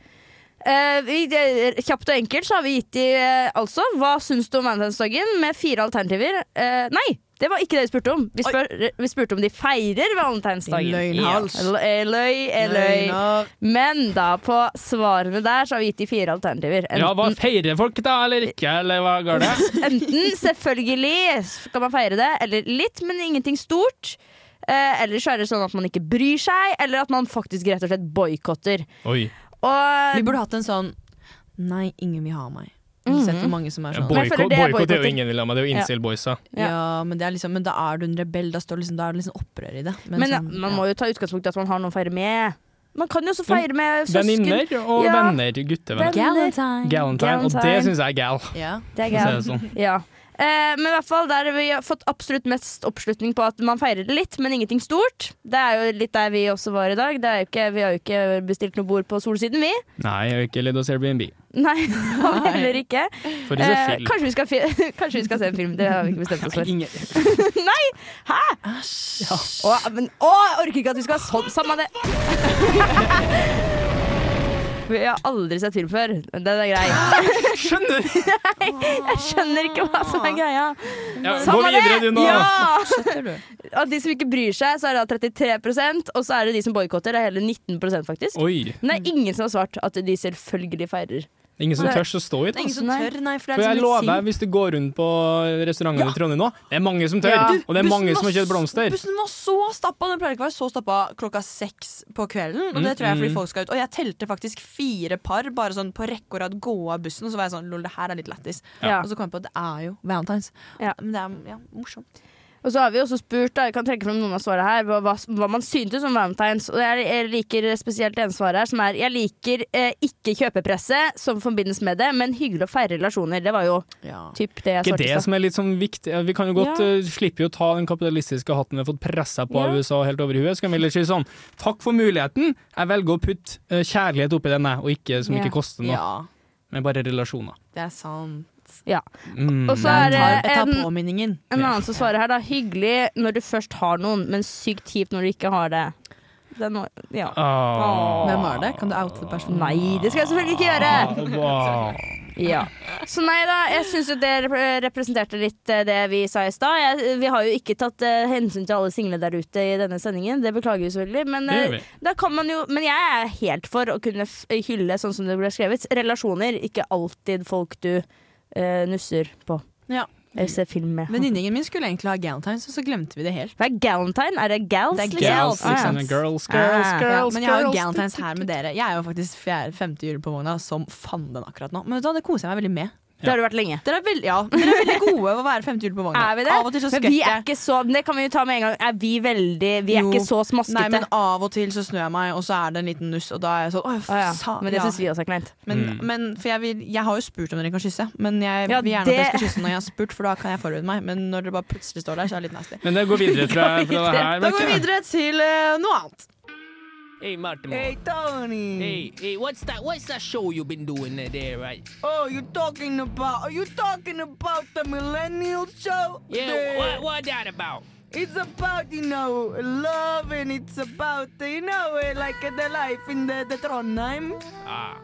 [SPEAKER 5] Eh, vi, det- kjapt og enkelt så har vi gitt de eh, altså hva syns du om valentinsdagen med fire alternativer. Eh, nei, det var ikke det vi spurte om. Vi, spør, vi spurte om de feirer valentinsdagen.
[SPEAKER 4] Din løgnhals.
[SPEAKER 5] Ja. Eh, Løy, eh, løy.
[SPEAKER 4] Løgner.
[SPEAKER 5] Men da på svarene der så har vi gitt de fire alternativer.
[SPEAKER 3] Ja, hva
[SPEAKER 5] Enten-
[SPEAKER 3] feirer folk da, eller ikke, eller hva går det?
[SPEAKER 5] Enten selvfølgelig skal man feire det, eller litt, men ingenting stort. Eh, eller så er det sånn at man ikke bryr seg, eller at man faktisk rett og slett boikotter.
[SPEAKER 3] Oi,
[SPEAKER 5] Og
[SPEAKER 4] Vi burde hatt en sånn Nei, ingen vil ha meg. Har
[SPEAKER 5] Mhm.
[SPEAKER 4] du Sett hvor mange som er
[SPEAKER 3] ja,
[SPEAKER 4] sånn.
[SPEAKER 5] boy-
[SPEAKER 3] boikott
[SPEAKER 5] det er
[SPEAKER 3] boikott er jo
[SPEAKER 5] boikotting.
[SPEAKER 3] ingen vil ha meg, det er jo
[SPEAKER 5] Ja.
[SPEAKER 3] incel-boysa.
[SPEAKER 5] ja.
[SPEAKER 4] Ja, men, det er liksom, men da er du en rebell. Da, står liksom, da er det liksom opprør i det. Men
[SPEAKER 5] men ja,
[SPEAKER 4] sånn,
[SPEAKER 5] man
[SPEAKER 4] ja.
[SPEAKER 5] må jo ta utgangspunkt i at man har noen å feire med. Man kan jo også feire med søsken.
[SPEAKER 3] Venninner og
[SPEAKER 5] Ja.
[SPEAKER 3] venner, guttevenner.
[SPEAKER 4] Galentine.
[SPEAKER 3] Galentine, og det
[SPEAKER 5] Galentine.
[SPEAKER 3] syns jeg er gal. for
[SPEAKER 4] Ja.
[SPEAKER 5] Det er
[SPEAKER 3] å si
[SPEAKER 5] gøy.
[SPEAKER 3] det Sånn.
[SPEAKER 5] Ja. Eh, men i hvert fall der vi har fått absolutt mest oppslutning på at man feirer det litt, men ingenting stort. Det er jo litt der vi også var i dag. Det er jo ikke, vi har jo ikke bestilt noe bord på Solsiden, vi.
[SPEAKER 3] Nei, jeg har ikke ledd hos Airbnb.
[SPEAKER 5] Nei, det har vi heller ikke.
[SPEAKER 3] For å se
[SPEAKER 5] Eh,
[SPEAKER 3] film.
[SPEAKER 5] kanskje, vi skal fi kanskje vi skal se en film. Det har vi ikke bestemt oss for.
[SPEAKER 3] Altså, Ingen,
[SPEAKER 5] Å, men, å, jeg orker ikke at vi skal ha sånn sammen det. Vi har aldri sett film før. Den er grei.
[SPEAKER 3] skjønner du?
[SPEAKER 5] Jeg skjønner ikke hva som er greia.
[SPEAKER 3] Ja, gå
[SPEAKER 5] Samme
[SPEAKER 3] videre, du, nå.
[SPEAKER 5] Ja!
[SPEAKER 4] Skjøtter du?
[SPEAKER 5] Av de som ikke bryr seg, så er det da 33 og så er det de som boikotter. Det er hele 19 faktisk.
[SPEAKER 3] Oi.
[SPEAKER 5] Men det er ingen som har svart at de selvfølgelig feirer.
[SPEAKER 3] Ingen som
[SPEAKER 5] Nei.
[SPEAKER 3] tør å stå i
[SPEAKER 4] Det er
[SPEAKER 3] det.
[SPEAKER 4] ingen som
[SPEAKER 5] Nei.
[SPEAKER 4] tør, nei, for det
[SPEAKER 3] For
[SPEAKER 4] er
[SPEAKER 3] jeg
[SPEAKER 4] liksom
[SPEAKER 3] lover, hvis du går rundt på restauranten i Trondheim nå, det er mange som tør.
[SPEAKER 5] Ja.
[SPEAKER 3] Og det er mange som har
[SPEAKER 4] Bussen
[SPEAKER 3] kjøpt
[SPEAKER 4] var-
[SPEAKER 3] blomster.
[SPEAKER 4] Bussen var så stappa. Den pleier ikke å være så stappa klokka seks på kvelden. Og det
[SPEAKER 3] Mm,
[SPEAKER 4] tror jeg er
[SPEAKER 3] mm.
[SPEAKER 4] fordi folk skal ut. Og jeg telte faktisk fire par bare sånn på rekke og rad gå av bussen. Og så var jeg sånn lol, det her er litt lættis.
[SPEAKER 5] Ja.
[SPEAKER 4] Og så kom jeg på at det er jo valentines.
[SPEAKER 5] Ja.
[SPEAKER 4] Men det er ja, morsomt.
[SPEAKER 5] Og så har vi også spurt, da, jeg kan trekke frem noen av svarene her, hva, hva- hva man syntes om Valentines. Og jeg, jeg liker spesielt det ene svaret her, som er jeg liker eh, ikke kjøpepresse som forbindes med det, men hyggelig å feire relasjoner. Det var jo
[SPEAKER 4] Ja.
[SPEAKER 5] typ det jeg
[SPEAKER 3] Ikke det
[SPEAKER 5] svarte. i stad.
[SPEAKER 3] som er litt sånn viktig. Vi kan jo godt
[SPEAKER 1] Ja.
[SPEAKER 3] eh, slippe jo å ta den kapitalistiske hatten vi har fått pressa på av
[SPEAKER 1] Ja.
[SPEAKER 3] USA helt over i huet. Så kan vi heller si sånn Takk for muligheten, jeg velger å putte eh, kjærlighet oppi denne, og ikke som
[SPEAKER 5] Ja.
[SPEAKER 3] ikke koster noe,
[SPEAKER 4] ja,
[SPEAKER 3] men bare relasjoner.
[SPEAKER 4] det er sant.
[SPEAKER 3] Mm.
[SPEAKER 5] Og så er det
[SPEAKER 4] Jeg tar
[SPEAKER 5] en,
[SPEAKER 4] påminningen.
[SPEAKER 5] en annen som svarer her, da. Hyggelig når du først har noen, men sykt kjipt når du ikke har det. Den var, ja.
[SPEAKER 3] Ah.
[SPEAKER 4] Hvem var det? Kan du oute personen?
[SPEAKER 5] Nei, det skal jeg selvfølgelig ikke gjøre!
[SPEAKER 3] Wow.
[SPEAKER 5] Ja. Så nei da, jeg syns jo det rep- representerte litt eh, det vi sa i stad. Jeg- Vi har jo ikke tatt eh, hensyn til alle single der ute i denne sendingen, det beklager vi selvfølgelig. Men,
[SPEAKER 3] Det gjør
[SPEAKER 5] eh, da kan man jo, men jeg er helt for å kunne f hylle, sånn som det ble skrevet, relasjoner. Ikke alltid folk du eh, nusser på.
[SPEAKER 4] Ja.
[SPEAKER 5] Eller ser film med.
[SPEAKER 4] Venninningen min skulle egentlig ha Galentines, og så glemte vi det helt.
[SPEAKER 5] Hva er galentine? Er det gals?
[SPEAKER 4] Det er
[SPEAKER 3] Girls,
[SPEAKER 4] Girls,
[SPEAKER 5] Ah,
[SPEAKER 3] ikke
[SPEAKER 5] ja.
[SPEAKER 3] sant? girls, girls,
[SPEAKER 5] Ah.
[SPEAKER 4] Ja,
[SPEAKER 3] girls,
[SPEAKER 4] men jeg har jo
[SPEAKER 3] girls.
[SPEAKER 4] Galentines her med dere. Jeg er jo faktisk fjerde, femte jul på vogna som fanden akkurat nå. Men vet du hva, det koser jeg meg veldig med.
[SPEAKER 5] Det har du vært lenge.
[SPEAKER 4] Dere er, veld, ja, dere er veldig gode å være femte jul på vogna.
[SPEAKER 5] Er vi det?
[SPEAKER 4] Av og til så
[SPEAKER 5] Men vi er
[SPEAKER 4] skvetter jeg.
[SPEAKER 5] ikke så Det kan vi jo ta med en gang. Er vi veldig Vi er
[SPEAKER 4] Jo.
[SPEAKER 5] ikke så
[SPEAKER 4] Nei,
[SPEAKER 5] smaskete.
[SPEAKER 4] men av og til så snør jeg meg, og så er det en liten nuss, og da er jeg sånn åh,
[SPEAKER 5] Å ja.
[SPEAKER 4] sa-
[SPEAKER 5] Men det
[SPEAKER 4] ja.
[SPEAKER 5] syns vi også er kleint.
[SPEAKER 4] Men,
[SPEAKER 3] Mm.
[SPEAKER 4] men for jeg, vil, jeg har jo spurt om dere kan kysse, men jeg
[SPEAKER 5] Ja,
[SPEAKER 4] vil gjerne
[SPEAKER 5] det-
[SPEAKER 4] at dere skal kysse når jeg har spurt, for da kan jeg forberede meg. Men når dere bare plutselig står der, så er det litt nasty.
[SPEAKER 3] Men det går videre fra, fra det her.
[SPEAKER 4] Da går vi videre til eh, noe annet.
[SPEAKER 3] Hey, Martin.
[SPEAKER 7] Tony!
[SPEAKER 3] Hey, hey, what's that? What's that show you've been doing there, right?
[SPEAKER 7] Oh, you talking about? Are you talking about the millennial show? The-
[SPEAKER 3] what that about?
[SPEAKER 7] It's about you know love, and it's about you know eh, like the life in the, the Trondheim.
[SPEAKER 3] Ah,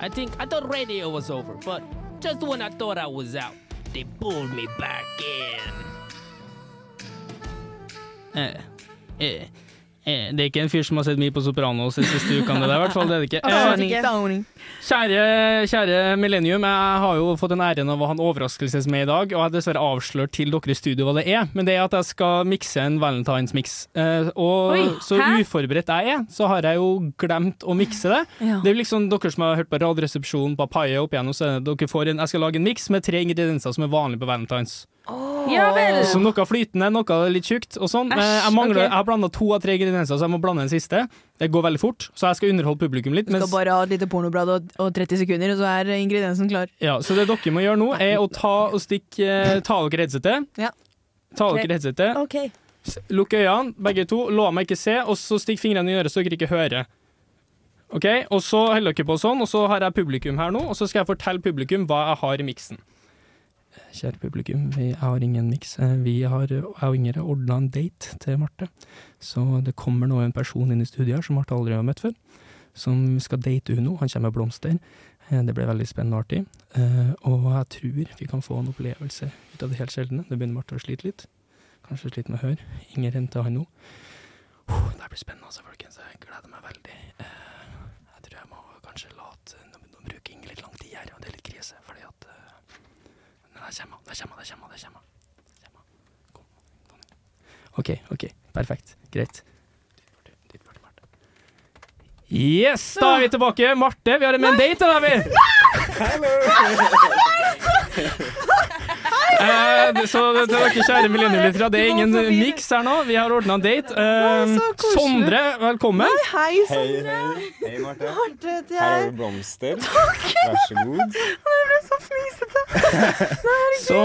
[SPEAKER 3] I think I thought radio was over, but just when I thought I was out, they pulled me back in. Eh, eh, eh, det er ikke en fyr som har sett mye på Sopranos de siste ukene, det der, i hvert fall. Det er det ikke. Eh, Kjære, kjære Millennium, jeg har jo fått den æren av å ha en overraskelse med i dag, og jeg har dessverre avslørt til dere i studio hva det er, men det er at jeg skal mikse en valentinsmiks. Eh, og
[SPEAKER 5] Oi,
[SPEAKER 3] så
[SPEAKER 5] hæ?
[SPEAKER 3] uforberedt jeg er, så har jeg jo glemt å mikse det. Det er jo liksom dere som har hørt på Radioresepsjonen, Papaya opp igjennom, så er det dere får en Jeg skal lage en miks med tre ingredienser som er vanlige på valentines.
[SPEAKER 5] Ja vel!
[SPEAKER 3] Så noe flytende, noe litt tjukt og sånn. Eh,
[SPEAKER 5] Æsj,
[SPEAKER 3] Jeg, mangler,
[SPEAKER 5] ok.
[SPEAKER 3] jeg har blanda to av tre ingredienser, så jeg må blande en siste. Det går veldig fort, så jeg skal underholde publikum litt.
[SPEAKER 4] Du
[SPEAKER 3] mens-
[SPEAKER 4] skal bare ha et lite pornoblad og, og 30 sekunder, og så er ingrediensen klar.
[SPEAKER 3] Ja, så det dere må gjøre nå, er å ta og stikke eh, Ta dere headsetet.
[SPEAKER 4] Ja.
[SPEAKER 3] Ta dere headsetet.
[SPEAKER 5] Ok.
[SPEAKER 3] s- Lukk øynene, begge to. La meg ikke se, og så stikk fingrene i øret så dere ikke hører. Ok, Og så holder dere på sånn, og så har jeg publikum her nå, og så skal jeg fortelle publikum hva jeg har i miksen. Kjære publikum, vi har ingen miks. Eh, Vi har, jeg og Inger har ordna en date til Marte. Så det kommer nå en person inn i studiet her som Marte aldri har møtt før, som skal date hun nå. Han kommer med blomster. Eh, Det blir veldig spennende og artig. Eh, og jeg tror vi kan få en opplevelse ut av det helt sjeldne. Nå begynner Marte å slite litt. Kanskje slite med å høre. Inger henter han nå. Uh, det her blir spennende, altså, folkens. Jeg gleder meg veldig. Eh, jeg tror jeg må kanskje late Nå, nå bruker Inger litt lang tid her, og det er litt krise, fordi at eh, Men der kommer han, der kommer han, der kommer han, der kommer han. Der kommer han. Kom, kom. OK, OK. Perfekt. Greit. Dit bort, dit bort, Marte. Yes, da er vi tilbake. Marte, vi har en med en date, da, vi! Eh, det- så det, det er ikke kjære millenniumlyttere, det er ingen miks her nå. Vi har ordna en date. Eh, Sondre, velkommen.
[SPEAKER 4] Hei, så
[SPEAKER 8] Hei,
[SPEAKER 7] Sånn
[SPEAKER 8] hei. Hei, Marte.
[SPEAKER 4] søt
[SPEAKER 8] Her har
[SPEAKER 4] jeg er.
[SPEAKER 8] du blomster. Vær så god.
[SPEAKER 3] Så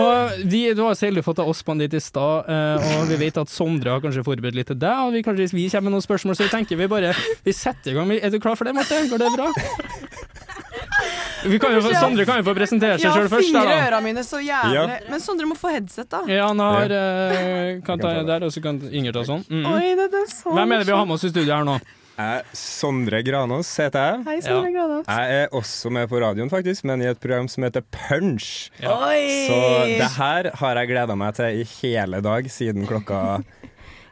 [SPEAKER 3] vi, Du har selv fått av oss på en date i stad, eh, og vi vet at Sondre har kanskje forberedt litt til deg. Og vi, kanskje, vi kommer med noen spørsmål, så vi tenker vi bare Vi setter i gang. Er du klar for det, Marte? Går det bra? Vi kan jo, få- Sondre kan jo få presentere seg
[SPEAKER 4] Jeg
[SPEAKER 3] sjøl
[SPEAKER 4] har
[SPEAKER 3] først.
[SPEAKER 4] fingre i
[SPEAKER 3] Der, da. Mm.
[SPEAKER 4] øra mine så jævlig.
[SPEAKER 8] Ja.
[SPEAKER 4] Men Sondre må få headset, da.
[SPEAKER 3] Ja, han har eh, Kan ta
[SPEAKER 8] Jeg kan ta det.
[SPEAKER 3] der, og så kan Inger ta sånn. Mm -mm.
[SPEAKER 4] Oi, det, det er så
[SPEAKER 3] Hvem er det vi har med oss i studio her nå?
[SPEAKER 8] Jeg er Sondre Granås heter jeg.
[SPEAKER 4] Hei, Sondre
[SPEAKER 3] Ja.
[SPEAKER 4] Granås.
[SPEAKER 8] Jeg er også med på radioen, faktisk, men i et program som heter Punch.
[SPEAKER 4] Oi!
[SPEAKER 8] Så det her har jeg gleda meg til i hele dag, siden klokka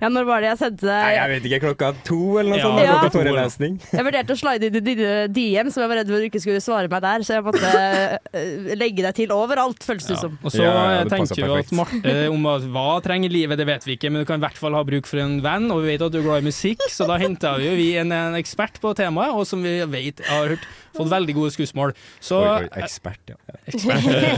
[SPEAKER 5] Ja, når var det jeg sendte deg
[SPEAKER 8] Nei, jeg vet ikke. Klokka to eller noe
[SPEAKER 6] Ja,
[SPEAKER 8] sånt.
[SPEAKER 5] klokka to,
[SPEAKER 8] Klokka to
[SPEAKER 6] ja.
[SPEAKER 8] forelesning.
[SPEAKER 5] Jeg vurderte å slide inn i dine DM, som jeg var redd for at du ikke skulle svare meg der. Så jeg måtte eh, legge deg til overalt, føles det
[SPEAKER 3] Ja.
[SPEAKER 5] som.
[SPEAKER 3] Og så
[SPEAKER 8] Ja, ja, det
[SPEAKER 3] tenker
[SPEAKER 8] passer
[SPEAKER 3] vi at
[SPEAKER 8] perfekt.
[SPEAKER 3] Marte om at hva trenger livet, det vet vi ikke, men du kan i hvert fall ha bruk for en venn, og vi vet at du er glad i musikk, så da henta vi jo vi en, en ekspert på temaet, og som vi vet har hørt, fått veldig gode skussmål. Så
[SPEAKER 8] Oi, oi, ekspert, ja.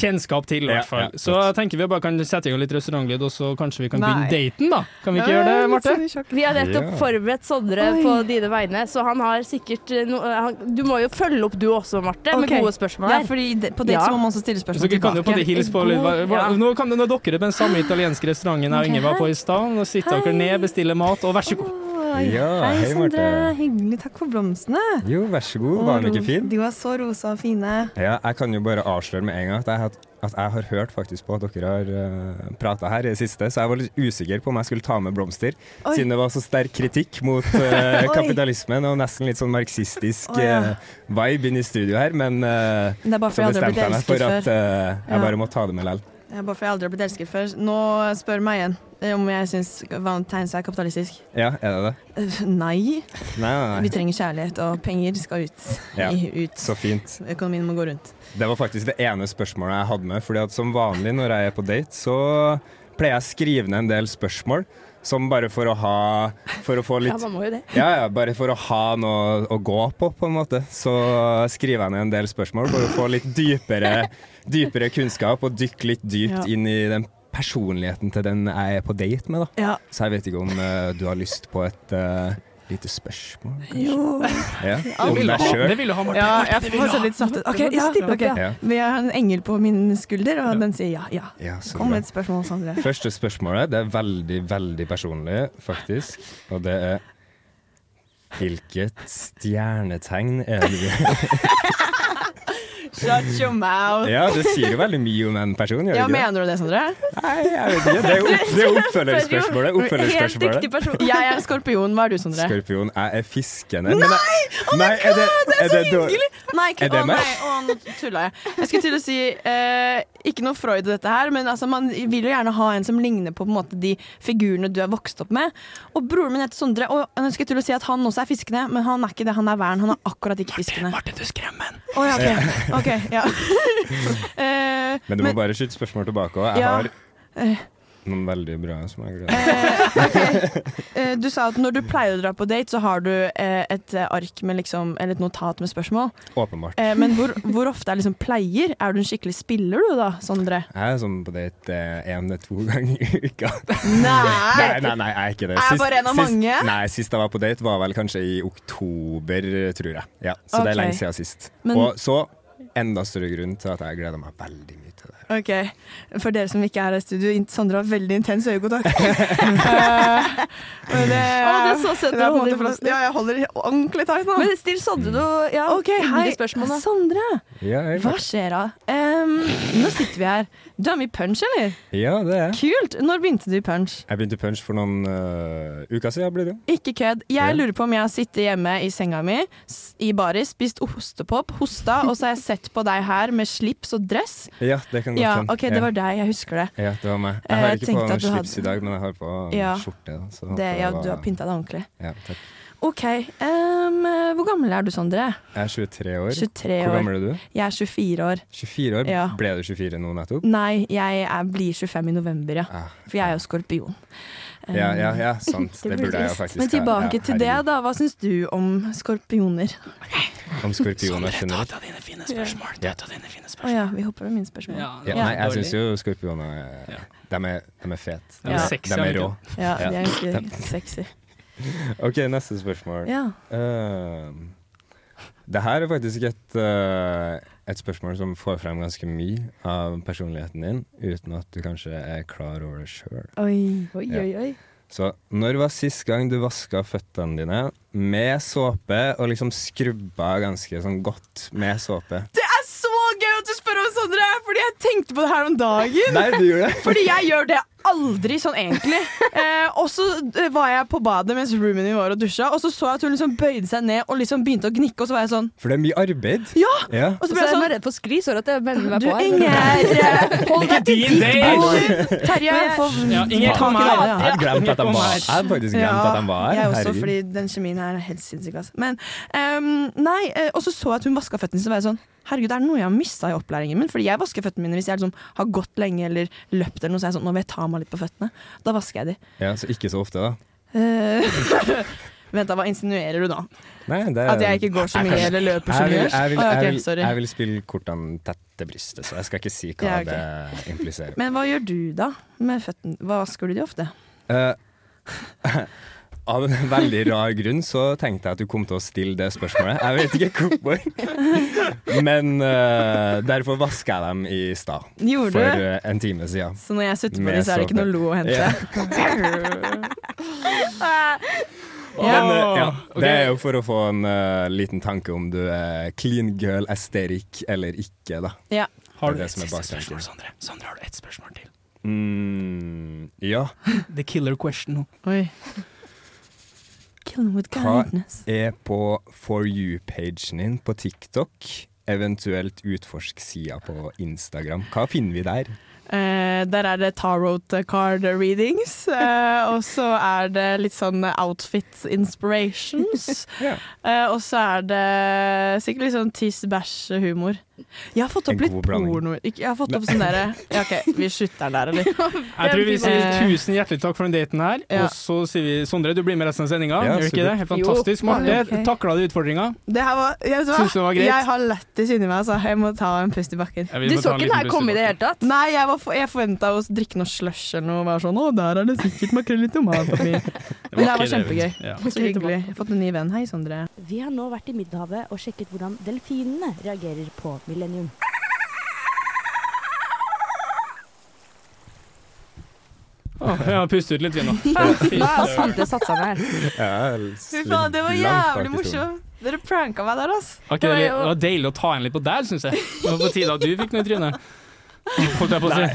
[SPEAKER 3] kjennskap til, i
[SPEAKER 8] Ja,
[SPEAKER 3] hvert fall.
[SPEAKER 8] ja,
[SPEAKER 3] så
[SPEAKER 8] godt.
[SPEAKER 3] tenker vi bare kan sette i gang litt restaurantlyd, og så kanskje vi kan
[SPEAKER 4] Nei.
[SPEAKER 3] begynne daten, da. Kan vi ikke gjøre det, Marte?
[SPEAKER 5] Vi har nettopp
[SPEAKER 8] Ja.
[SPEAKER 5] forberedt Sondre på dine vegne, så han har sikkert eh, no, han, Du må jo følge opp du også, Marte, med
[SPEAKER 4] Ok.
[SPEAKER 5] gode spørsmål.
[SPEAKER 4] Ja,
[SPEAKER 5] her.
[SPEAKER 4] fordi de- på date
[SPEAKER 5] Ja.
[SPEAKER 4] så må man også stille
[SPEAKER 3] Så dere
[SPEAKER 4] spørsmål
[SPEAKER 3] kan jo på det
[SPEAKER 4] tilbake.
[SPEAKER 3] hils på litt, hva, hva,
[SPEAKER 5] Ja.
[SPEAKER 3] Nå kan nå dukker det opp den samme italienske restauranten jeg og Inger var på i stad. Nå sitter dere ned, bestiller mat, og vær så god.
[SPEAKER 4] Oi,
[SPEAKER 8] Ja,
[SPEAKER 4] hei,
[SPEAKER 8] hei,
[SPEAKER 4] Sondre.
[SPEAKER 8] Marte.
[SPEAKER 4] Hyggelig. Takk for blomstene.
[SPEAKER 8] Jo, vær så god. Var
[SPEAKER 5] Mm.
[SPEAKER 8] den ikke fin?
[SPEAKER 4] Du er så rosa og fine.
[SPEAKER 8] Ja, jeg kan jo bare avsløre med en gang at jeg, had- at jeg har hørt faktisk på at dere har uh, prata her i det siste, så jeg var litt usikker på om jeg skulle ta med blomster,
[SPEAKER 4] Oi.
[SPEAKER 8] siden det var så sterk kritikk mot eh,
[SPEAKER 4] Oi.
[SPEAKER 8] kapitalismen og nesten litt sånn marxistisk
[SPEAKER 4] Å, ja.
[SPEAKER 8] eh, vibe inn i studio her, men eh,
[SPEAKER 4] Det er bare
[SPEAKER 8] så
[SPEAKER 4] fordi jeg aldri har
[SPEAKER 8] bestemte
[SPEAKER 4] blitt
[SPEAKER 8] jeg meg for
[SPEAKER 4] elsket
[SPEAKER 8] at
[SPEAKER 4] før.
[SPEAKER 8] eh,
[SPEAKER 4] Ja.
[SPEAKER 8] jeg bare må ta det med lell.
[SPEAKER 4] Det er bare fordi jeg aldri har blitt elsket før. Nå spør meg igjen eh, om jeg syns valentines er kapitalistisk.
[SPEAKER 8] Ja, er det det?
[SPEAKER 4] Eh, Nei.
[SPEAKER 8] Nei, nei,
[SPEAKER 4] Vi
[SPEAKER 8] nei.
[SPEAKER 4] trenger kjærlighet, og penger skal ut.
[SPEAKER 8] Ja.
[SPEAKER 4] I- ut.
[SPEAKER 8] Så fint.
[SPEAKER 4] Økonomien må gå rundt.
[SPEAKER 8] Det var faktisk det ene spørsmålet jeg hadde med. fordi at som vanlig når jeg er på date, så pleier jeg å skrive ned en del spørsmål. Som bare for å ha For å få
[SPEAKER 5] Ja,
[SPEAKER 8] litt
[SPEAKER 5] man må jo det.
[SPEAKER 8] Ja, ja, bare for å ha noe å gå på, på en måte. Så skriver jeg ned en del spørsmål for å få litt dypere, dypere kunnskap og dykke litt dypt
[SPEAKER 4] Ja.
[SPEAKER 8] inn i den personligheten til den jeg er på date med, da.
[SPEAKER 4] Ja.
[SPEAKER 8] Så jeg vet ikke om eh, du har lyst på et eh, lite spørsmål? kanskje? Ja,
[SPEAKER 3] Det
[SPEAKER 8] om
[SPEAKER 3] vil du
[SPEAKER 8] deg
[SPEAKER 3] ha.
[SPEAKER 8] sjøl?
[SPEAKER 3] Det vil du ha, Marte.
[SPEAKER 4] Ja, jeg får sånn litt sattet. Ok, ja, ok.
[SPEAKER 8] Ja.
[SPEAKER 4] Vi har en engel på min skulder, og den sier ja, ja.
[SPEAKER 8] Ja, så
[SPEAKER 4] Kom
[SPEAKER 8] bra.
[SPEAKER 4] med et spørsmål, Sondre.
[SPEAKER 8] Første spørsmålet det er veldig, veldig personlig, faktisk. Og det er Hvilket stjernetegn er du?
[SPEAKER 4] Shut your mouth.
[SPEAKER 8] Ja, det sier jo veldig mye om en person, gjør det
[SPEAKER 4] Ja,
[SPEAKER 8] ikke det?
[SPEAKER 4] mener du det, Sondre?
[SPEAKER 8] Nei, jeg vet ikke. Det er opp- det er oppfølgerspørsmålet.
[SPEAKER 5] Helt
[SPEAKER 8] oppfølgerspørsmålet.
[SPEAKER 5] dyktig person.
[SPEAKER 4] Jeg er skorpion. Hva er du, Sondre?
[SPEAKER 8] Skorpion, jeg er fiskende. Nei! Oh my god, det er så hyggelig!
[SPEAKER 4] Nei, ikke,
[SPEAKER 8] Er det
[SPEAKER 4] å,
[SPEAKER 8] meg?
[SPEAKER 4] nei, å, nå tulla jeg. Jeg skulle til å si eh, ikke noe Freud i dette her, men altså, man vil jo gjerne ha en som ligner på, på en måte, de figurene du er vokst opp med. Og broren min heter Sondre, og jeg skulle til å si at han også er fiskende, men han er ikke det. Han er væren. Han er akkurat ikke fiskende.
[SPEAKER 3] Marte, du skremmer den.
[SPEAKER 4] Å, ja, ok. Ok, ja. Eh,
[SPEAKER 8] Men Eh. du må bare skyte spørsmål tilbake òg. Jeg
[SPEAKER 4] Ja.
[SPEAKER 8] har noen veldig bra som jeg gleder meg
[SPEAKER 4] eh, du sa at når du pleier å dra på date, så har du eh, et eh, ark med liksom, eller et notat med spørsmål.
[SPEAKER 8] til. Åpenbart.
[SPEAKER 4] Eh, men hvor, hvor ofte er liksom pleier? Er du en skikkelig spiller, du da, Sondre?
[SPEAKER 8] Jeg er sånn på date én til to ganger i uka.
[SPEAKER 4] Nei!
[SPEAKER 8] Nei, nei, nei, jeg er ikke det.
[SPEAKER 4] Er jeg bare en av mange?
[SPEAKER 8] Sist, nei, sist jeg var på date var vel kanskje i oktober, tror jeg. Ja, så
[SPEAKER 4] Ok.
[SPEAKER 8] det er lenge siden sist.
[SPEAKER 4] Men-
[SPEAKER 8] Og så enda større grunn til at jeg gleder meg veldig mye til det. her.
[SPEAKER 4] Ok, For dere som ikke er her i studio, in- Sondre har veldig intens øyekontakt. Eh, men det,
[SPEAKER 5] Å, det er så søtt
[SPEAKER 4] det er
[SPEAKER 5] å
[SPEAKER 4] på en
[SPEAKER 5] holde i
[SPEAKER 4] måte plass-
[SPEAKER 5] blomster.
[SPEAKER 4] Ja, jeg holder ordentlig tight nå.
[SPEAKER 5] Men still Sondre noe ja,
[SPEAKER 4] Ok, hei,
[SPEAKER 5] hyggelige spørsmål, da.
[SPEAKER 4] Sondre.
[SPEAKER 8] Ja, jeg-
[SPEAKER 4] Hva skjer da? Em, nå sitter vi her. Du er med i Punch, eller?
[SPEAKER 8] ja, det er jeg.
[SPEAKER 4] Kult! Når begynte du i Punch?
[SPEAKER 8] Jeg begynte punch for noen øh, uker siden, blir det jo.
[SPEAKER 4] Ikke kødd.
[SPEAKER 8] Ja.
[SPEAKER 4] Jeg lurer på om jeg har sittet hjemme i senga mi s- i baris, spist ostepop, hosta, og så har jeg sett på deg her med slips og dress.
[SPEAKER 8] Ja, det kan godt
[SPEAKER 4] Ja,
[SPEAKER 8] hende.
[SPEAKER 4] OK, det var deg. Jeg husker det.
[SPEAKER 8] ja. ja, det var meg.
[SPEAKER 4] Eh,
[SPEAKER 8] Jeg har
[SPEAKER 4] jeg
[SPEAKER 8] ikke
[SPEAKER 4] tenkte
[SPEAKER 8] på
[SPEAKER 4] at du
[SPEAKER 8] slips
[SPEAKER 4] hadde-
[SPEAKER 8] i dag, men jeg har på
[SPEAKER 4] Ja.
[SPEAKER 8] skjorte. da, Så
[SPEAKER 4] det ja,
[SPEAKER 8] var-
[SPEAKER 4] du har pynta deg ordentlig.
[SPEAKER 8] Ja, takk.
[SPEAKER 4] OK. em, hvor gammel er du, Sondre?
[SPEAKER 8] Jeg er 23 år.
[SPEAKER 4] 23
[SPEAKER 8] Hvor
[SPEAKER 4] år.
[SPEAKER 8] gammel er du?
[SPEAKER 4] Jeg er 24 år.
[SPEAKER 8] 24 år?
[SPEAKER 4] Ja.
[SPEAKER 8] Ble du 24 nå nettopp?
[SPEAKER 4] Nei, jeg er, blir 25 i november, ja.
[SPEAKER 8] Ah,
[SPEAKER 4] For jeg er jo skorpion. Um,
[SPEAKER 8] Ja, ja, ja, sant. Det burde jeg jo faktisk
[SPEAKER 4] Men
[SPEAKER 8] ha.
[SPEAKER 4] tilbake
[SPEAKER 8] Ja,
[SPEAKER 4] til det,
[SPEAKER 8] herregud.
[SPEAKER 4] da. Hva syns du om skorpioner?
[SPEAKER 8] Om skorpioner generelt.
[SPEAKER 3] Ta dine fine spørsmål.
[SPEAKER 8] Ja.
[SPEAKER 3] Ta dine fine
[SPEAKER 4] Å ja, vi hopper over mine spørsmål. Ja,
[SPEAKER 8] Ja, nei, jeg syns jo skorpioner
[SPEAKER 3] Ja.
[SPEAKER 8] de, er, de er fete.
[SPEAKER 3] De er sexy,
[SPEAKER 8] de
[SPEAKER 3] er
[SPEAKER 8] er
[SPEAKER 3] de
[SPEAKER 8] rå.
[SPEAKER 4] de er ganske sexy.
[SPEAKER 8] OK, neste spørsmål.
[SPEAKER 4] Ja.
[SPEAKER 8] Ehm, det her er faktisk et, eh, et spørsmål som får frem ganske mye av personligheten din, uten at du kanskje er klar over det sjøl.
[SPEAKER 4] Oi.
[SPEAKER 5] Oi,
[SPEAKER 8] Ja.
[SPEAKER 5] oi, oi.
[SPEAKER 8] Så når var sist gang du vaska føttene dine med såpe, og liksom skrubba ganske sånn godt med såpe?
[SPEAKER 4] Det er så gøy at du spør om Sondre! Fordi jeg tenkte på det her om dagen.
[SPEAKER 8] Nei, du gjorde det!
[SPEAKER 4] Fordi jeg gjør det aldri sånn, egentlig. Eh, og så eh, var jeg på badet mens roomien min var og dusja, og så så jeg at hun liksom bøyde seg ned og liksom begynte å gnikke, og så var jeg sånn
[SPEAKER 8] For det er mye arbeid.
[SPEAKER 4] Ja!
[SPEAKER 8] Ja.
[SPEAKER 4] Og så
[SPEAKER 5] Så
[SPEAKER 4] ble jeg
[SPEAKER 5] jeg
[SPEAKER 4] sånn
[SPEAKER 5] var redd for skli, så at jeg melder meg
[SPEAKER 4] Du,
[SPEAKER 5] på. her.
[SPEAKER 4] Inger, eh, hold deg til
[SPEAKER 3] din
[SPEAKER 4] ditt
[SPEAKER 3] del!
[SPEAKER 4] bord! Terje, få
[SPEAKER 3] Ja, Inger, kom
[SPEAKER 4] tak i
[SPEAKER 3] her.
[SPEAKER 4] det, ja.
[SPEAKER 8] Jeg hadde glemt at han
[SPEAKER 3] Kom
[SPEAKER 8] var
[SPEAKER 3] her.
[SPEAKER 8] Jeg hadde faktisk glemt at han var her.
[SPEAKER 4] Jeg også,
[SPEAKER 8] Herregud.
[SPEAKER 4] fordi den kjemien her er helt sinnssyk. Altså. Men, ehm, nei, eh, og så så jeg at hun vaska føttene, så var jeg sånn Herregud, er det noe jeg har mista i opplæringen min? Fordi jeg vasker føttene mine hvis jeg liksom har gått lenge eller løpt eller noe, så er jeg sånn Nå vil jeg ta meg litt på føttene. Da vasker jeg de.
[SPEAKER 8] Ja, så ikke så ofte, da.
[SPEAKER 4] Eh, Vent, da, hva insinuerer du da?
[SPEAKER 8] Nei, det,
[SPEAKER 4] At jeg ikke går så mye eller løper så
[SPEAKER 8] Eh, jeg
[SPEAKER 4] mye?
[SPEAKER 8] vil, jeg, vil,
[SPEAKER 4] Å, ja, ok,
[SPEAKER 8] jeg, vil,
[SPEAKER 4] sorry.
[SPEAKER 8] jeg vil spille kortene tett til brystet, så jeg skal ikke si hva
[SPEAKER 4] Ja, ok.
[SPEAKER 8] det impliserer.
[SPEAKER 4] Men hva gjør du da med føttene? Hva Vasker du de ofte?
[SPEAKER 8] Eh, av en veldig rar grunn så tenkte jeg at du kom til å stille det spørsmålet. Jeg vet ikke hvorfor. Men eh, derfor vaska jeg dem i stad.
[SPEAKER 4] Gjorde
[SPEAKER 8] For
[SPEAKER 4] du?
[SPEAKER 8] eh, en time siden.
[SPEAKER 4] Så når jeg sutter på
[SPEAKER 8] Med
[SPEAKER 4] de, så er det ikke noe
[SPEAKER 8] såpe.
[SPEAKER 4] lo å hente.
[SPEAKER 8] Ja. Men, eh, ja, Det er jo for å få en eh, liten tanke om du er clean girl aesthetic eller ikke, da.
[SPEAKER 4] Ja.
[SPEAKER 3] Har
[SPEAKER 8] Det
[SPEAKER 3] du
[SPEAKER 8] er det
[SPEAKER 3] et
[SPEAKER 8] som er
[SPEAKER 3] siste
[SPEAKER 8] baktanken.
[SPEAKER 3] spørsmål, Sondre? Sondre, har du et spørsmål til?
[SPEAKER 8] Mm, ja.
[SPEAKER 3] The killer question nå.
[SPEAKER 4] Oi. Kill them with
[SPEAKER 8] Hva-
[SPEAKER 4] kindness.
[SPEAKER 8] er på For you-pagen din på TikTok. Eventuelt utforsk sida på Instagram. Hva finner vi der?
[SPEAKER 4] Eh, der er det tarot card readings, eh, og så er det litt sånn outfit inspirations.
[SPEAKER 8] Ja.
[SPEAKER 4] eh, og så er det sikkert litt sånn tiss-bæsj-humor. Jeg har fått
[SPEAKER 8] En
[SPEAKER 4] opp litt
[SPEAKER 8] god blanding.
[SPEAKER 4] porno Ikke- Jeg har fått opp sånn derre ja, OK, vi slutter den der, eller?
[SPEAKER 3] Jeg tror vi sier
[SPEAKER 4] Eh.
[SPEAKER 3] tusen hjertelig takk for den daten her.
[SPEAKER 4] Ja.
[SPEAKER 3] Og så sier vi Sondre, du blir med resten av sendinga.
[SPEAKER 8] Ja,
[SPEAKER 3] Gjør du ikke
[SPEAKER 8] supert.
[SPEAKER 3] det? Helt fantastisk. Marte, takla du utfordringa?
[SPEAKER 4] Det her var, jeg, vet du hva?
[SPEAKER 3] Synes det var greit?
[SPEAKER 4] jeg har lættis inni meg, altså. Jeg må ta en pust i bakken.
[SPEAKER 3] Ja, vi
[SPEAKER 5] Du
[SPEAKER 3] må
[SPEAKER 5] så
[SPEAKER 3] ta en
[SPEAKER 5] ikke den
[SPEAKER 3] liten
[SPEAKER 5] her komme i det hele tatt?
[SPEAKER 4] Nei, jeg, var for, jeg forventa å drikke noe slush eller noe. og Være sånn, å, der er det sikkert makrell i tomatpapir.
[SPEAKER 3] pust.
[SPEAKER 4] Men det her var
[SPEAKER 3] ikke
[SPEAKER 4] kjempegøy.
[SPEAKER 3] Ja.
[SPEAKER 4] Så hyggelig. Jeg har fått en ny venn. Hei, Sondre.
[SPEAKER 10] Vi har nå vært i Middelhavet og sjekket hvordan delfinene reagerer på millennium.
[SPEAKER 3] Å, ja, Pust ut litt, vi nå.
[SPEAKER 5] Sante satsa meg her.
[SPEAKER 4] Fy faen, det var jævlig morsomt. Dere pranka meg der, ass.
[SPEAKER 3] Ok, det var deilig å ta igjen litt på der, syns jeg. Det var på tide at du fikk noe i trynet. Holdt jeg på å si.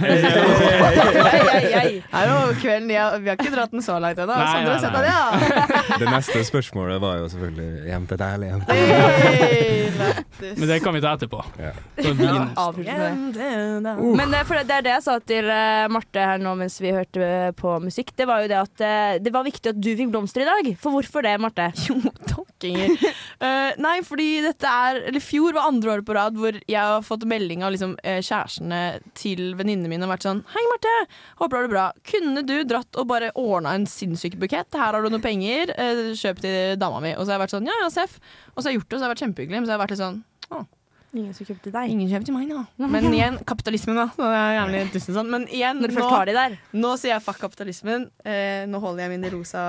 [SPEAKER 4] Her var kvelden, jeg, vi har ikke dratt den så langt ennå.
[SPEAKER 3] Nei, nei,
[SPEAKER 4] Sondre har sett den, ja.
[SPEAKER 8] Det neste spørsmålet var jo selvfølgelig Hjem til deg, eller hjem til deg?
[SPEAKER 4] Hey, lættis.
[SPEAKER 3] Men det kan vi ta etterpå.
[SPEAKER 8] Ja.
[SPEAKER 3] Så vin.
[SPEAKER 5] Avslutte med det.
[SPEAKER 4] Hjem til deg.
[SPEAKER 5] Men eh, for det, det er det jeg sa til eh, Marte her nå mens vi hørte eh, på musikk. Det var jo det at eh, det var viktig at du fikk blomster i dag. For hvorfor det, Marte?
[SPEAKER 4] Jo, takk, Inger. Eh, nei, fordi dette er Eller fjor var andre året på rad hvor jeg har fått melding av liksom, eh, kjærestene til venninnene mine og vært sånn Hei, Marte. Håper du har det bra. Kunne du dratt og bare ordna en sinnssyk bukett? Her har du noen penger. eh, kjøp til dama mi. Og så har jeg vært sånn Ja, ja, seff. Og så har jeg gjort det, og så har jeg vært kjempehyggelig. Men så har jeg vært litt sånn
[SPEAKER 5] Ingen som kjøpte deg.
[SPEAKER 4] Ingen kjøper til meg, da. Men igjen, kapitalismen, da. Det er jævlig tusen sånn. Men igjen,
[SPEAKER 5] Når du
[SPEAKER 4] nå-
[SPEAKER 5] først har de der.
[SPEAKER 4] nå sier jeg fuck kapitalismen. Eh, nå holder jeg mine rosa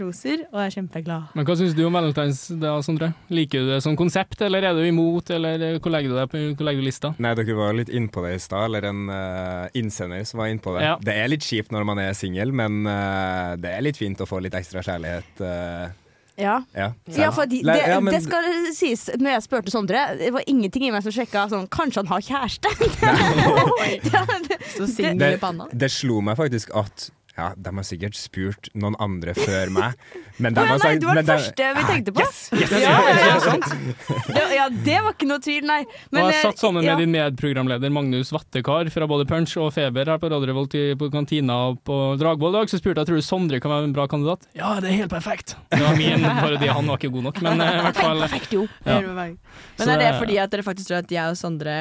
[SPEAKER 4] roser, og jeg er kjempeglad.
[SPEAKER 3] Men hva syns du om Valentine's da, Sondre? Liker du det som konsept, eller er du imot, eller hvor legger du deg på hvor legger du lista?
[SPEAKER 8] Nei, dere var litt innpå det i stad, eller en eh, innsender som var innpå det.
[SPEAKER 3] Ja.
[SPEAKER 8] Det er litt kjipt når man er singel, men eh, det er litt fint å få litt ekstra kjærlighet. eh,
[SPEAKER 5] Ja.
[SPEAKER 8] ja.
[SPEAKER 5] Ja, fordi det,
[SPEAKER 8] Nei, ja, men-
[SPEAKER 5] det skal sies, når jeg spurte Sondre, det var ingenting i meg som sjekka sånn Kanskje han har kjæreste? Det-
[SPEAKER 4] Så singel i
[SPEAKER 8] Det,
[SPEAKER 4] panna.
[SPEAKER 8] det slo meg faktisk at ja, de har sikkert spurt noen andre før meg. altså, Men de
[SPEAKER 5] nei,
[SPEAKER 8] har sagt
[SPEAKER 5] du var
[SPEAKER 8] men
[SPEAKER 5] den
[SPEAKER 8] de-
[SPEAKER 5] første vi tenkte på.
[SPEAKER 8] Yes,
[SPEAKER 5] Ja, ja, ja. Det, ja, det var ikke noe tvil, nei.
[SPEAKER 3] og
[SPEAKER 5] eh,
[SPEAKER 3] jeg satt sammen med
[SPEAKER 5] ja.
[SPEAKER 3] din medprogramleder Magnus Vattekar fra både Punch og Feber her på Radio Revolt i, på kantina og på Dragvoll i dag, så spurte jeg tror du Sondre kan være en bra kandidat. Ja, det er helt perfekt! Det var min parodi, han var ikke god nok, men eh, i hvert fall
[SPEAKER 5] Perfekt, jo.
[SPEAKER 3] Ja.
[SPEAKER 4] Men
[SPEAKER 3] Så
[SPEAKER 4] er det
[SPEAKER 3] det-
[SPEAKER 4] fordi at dere faktisk tror at jeg og Sondre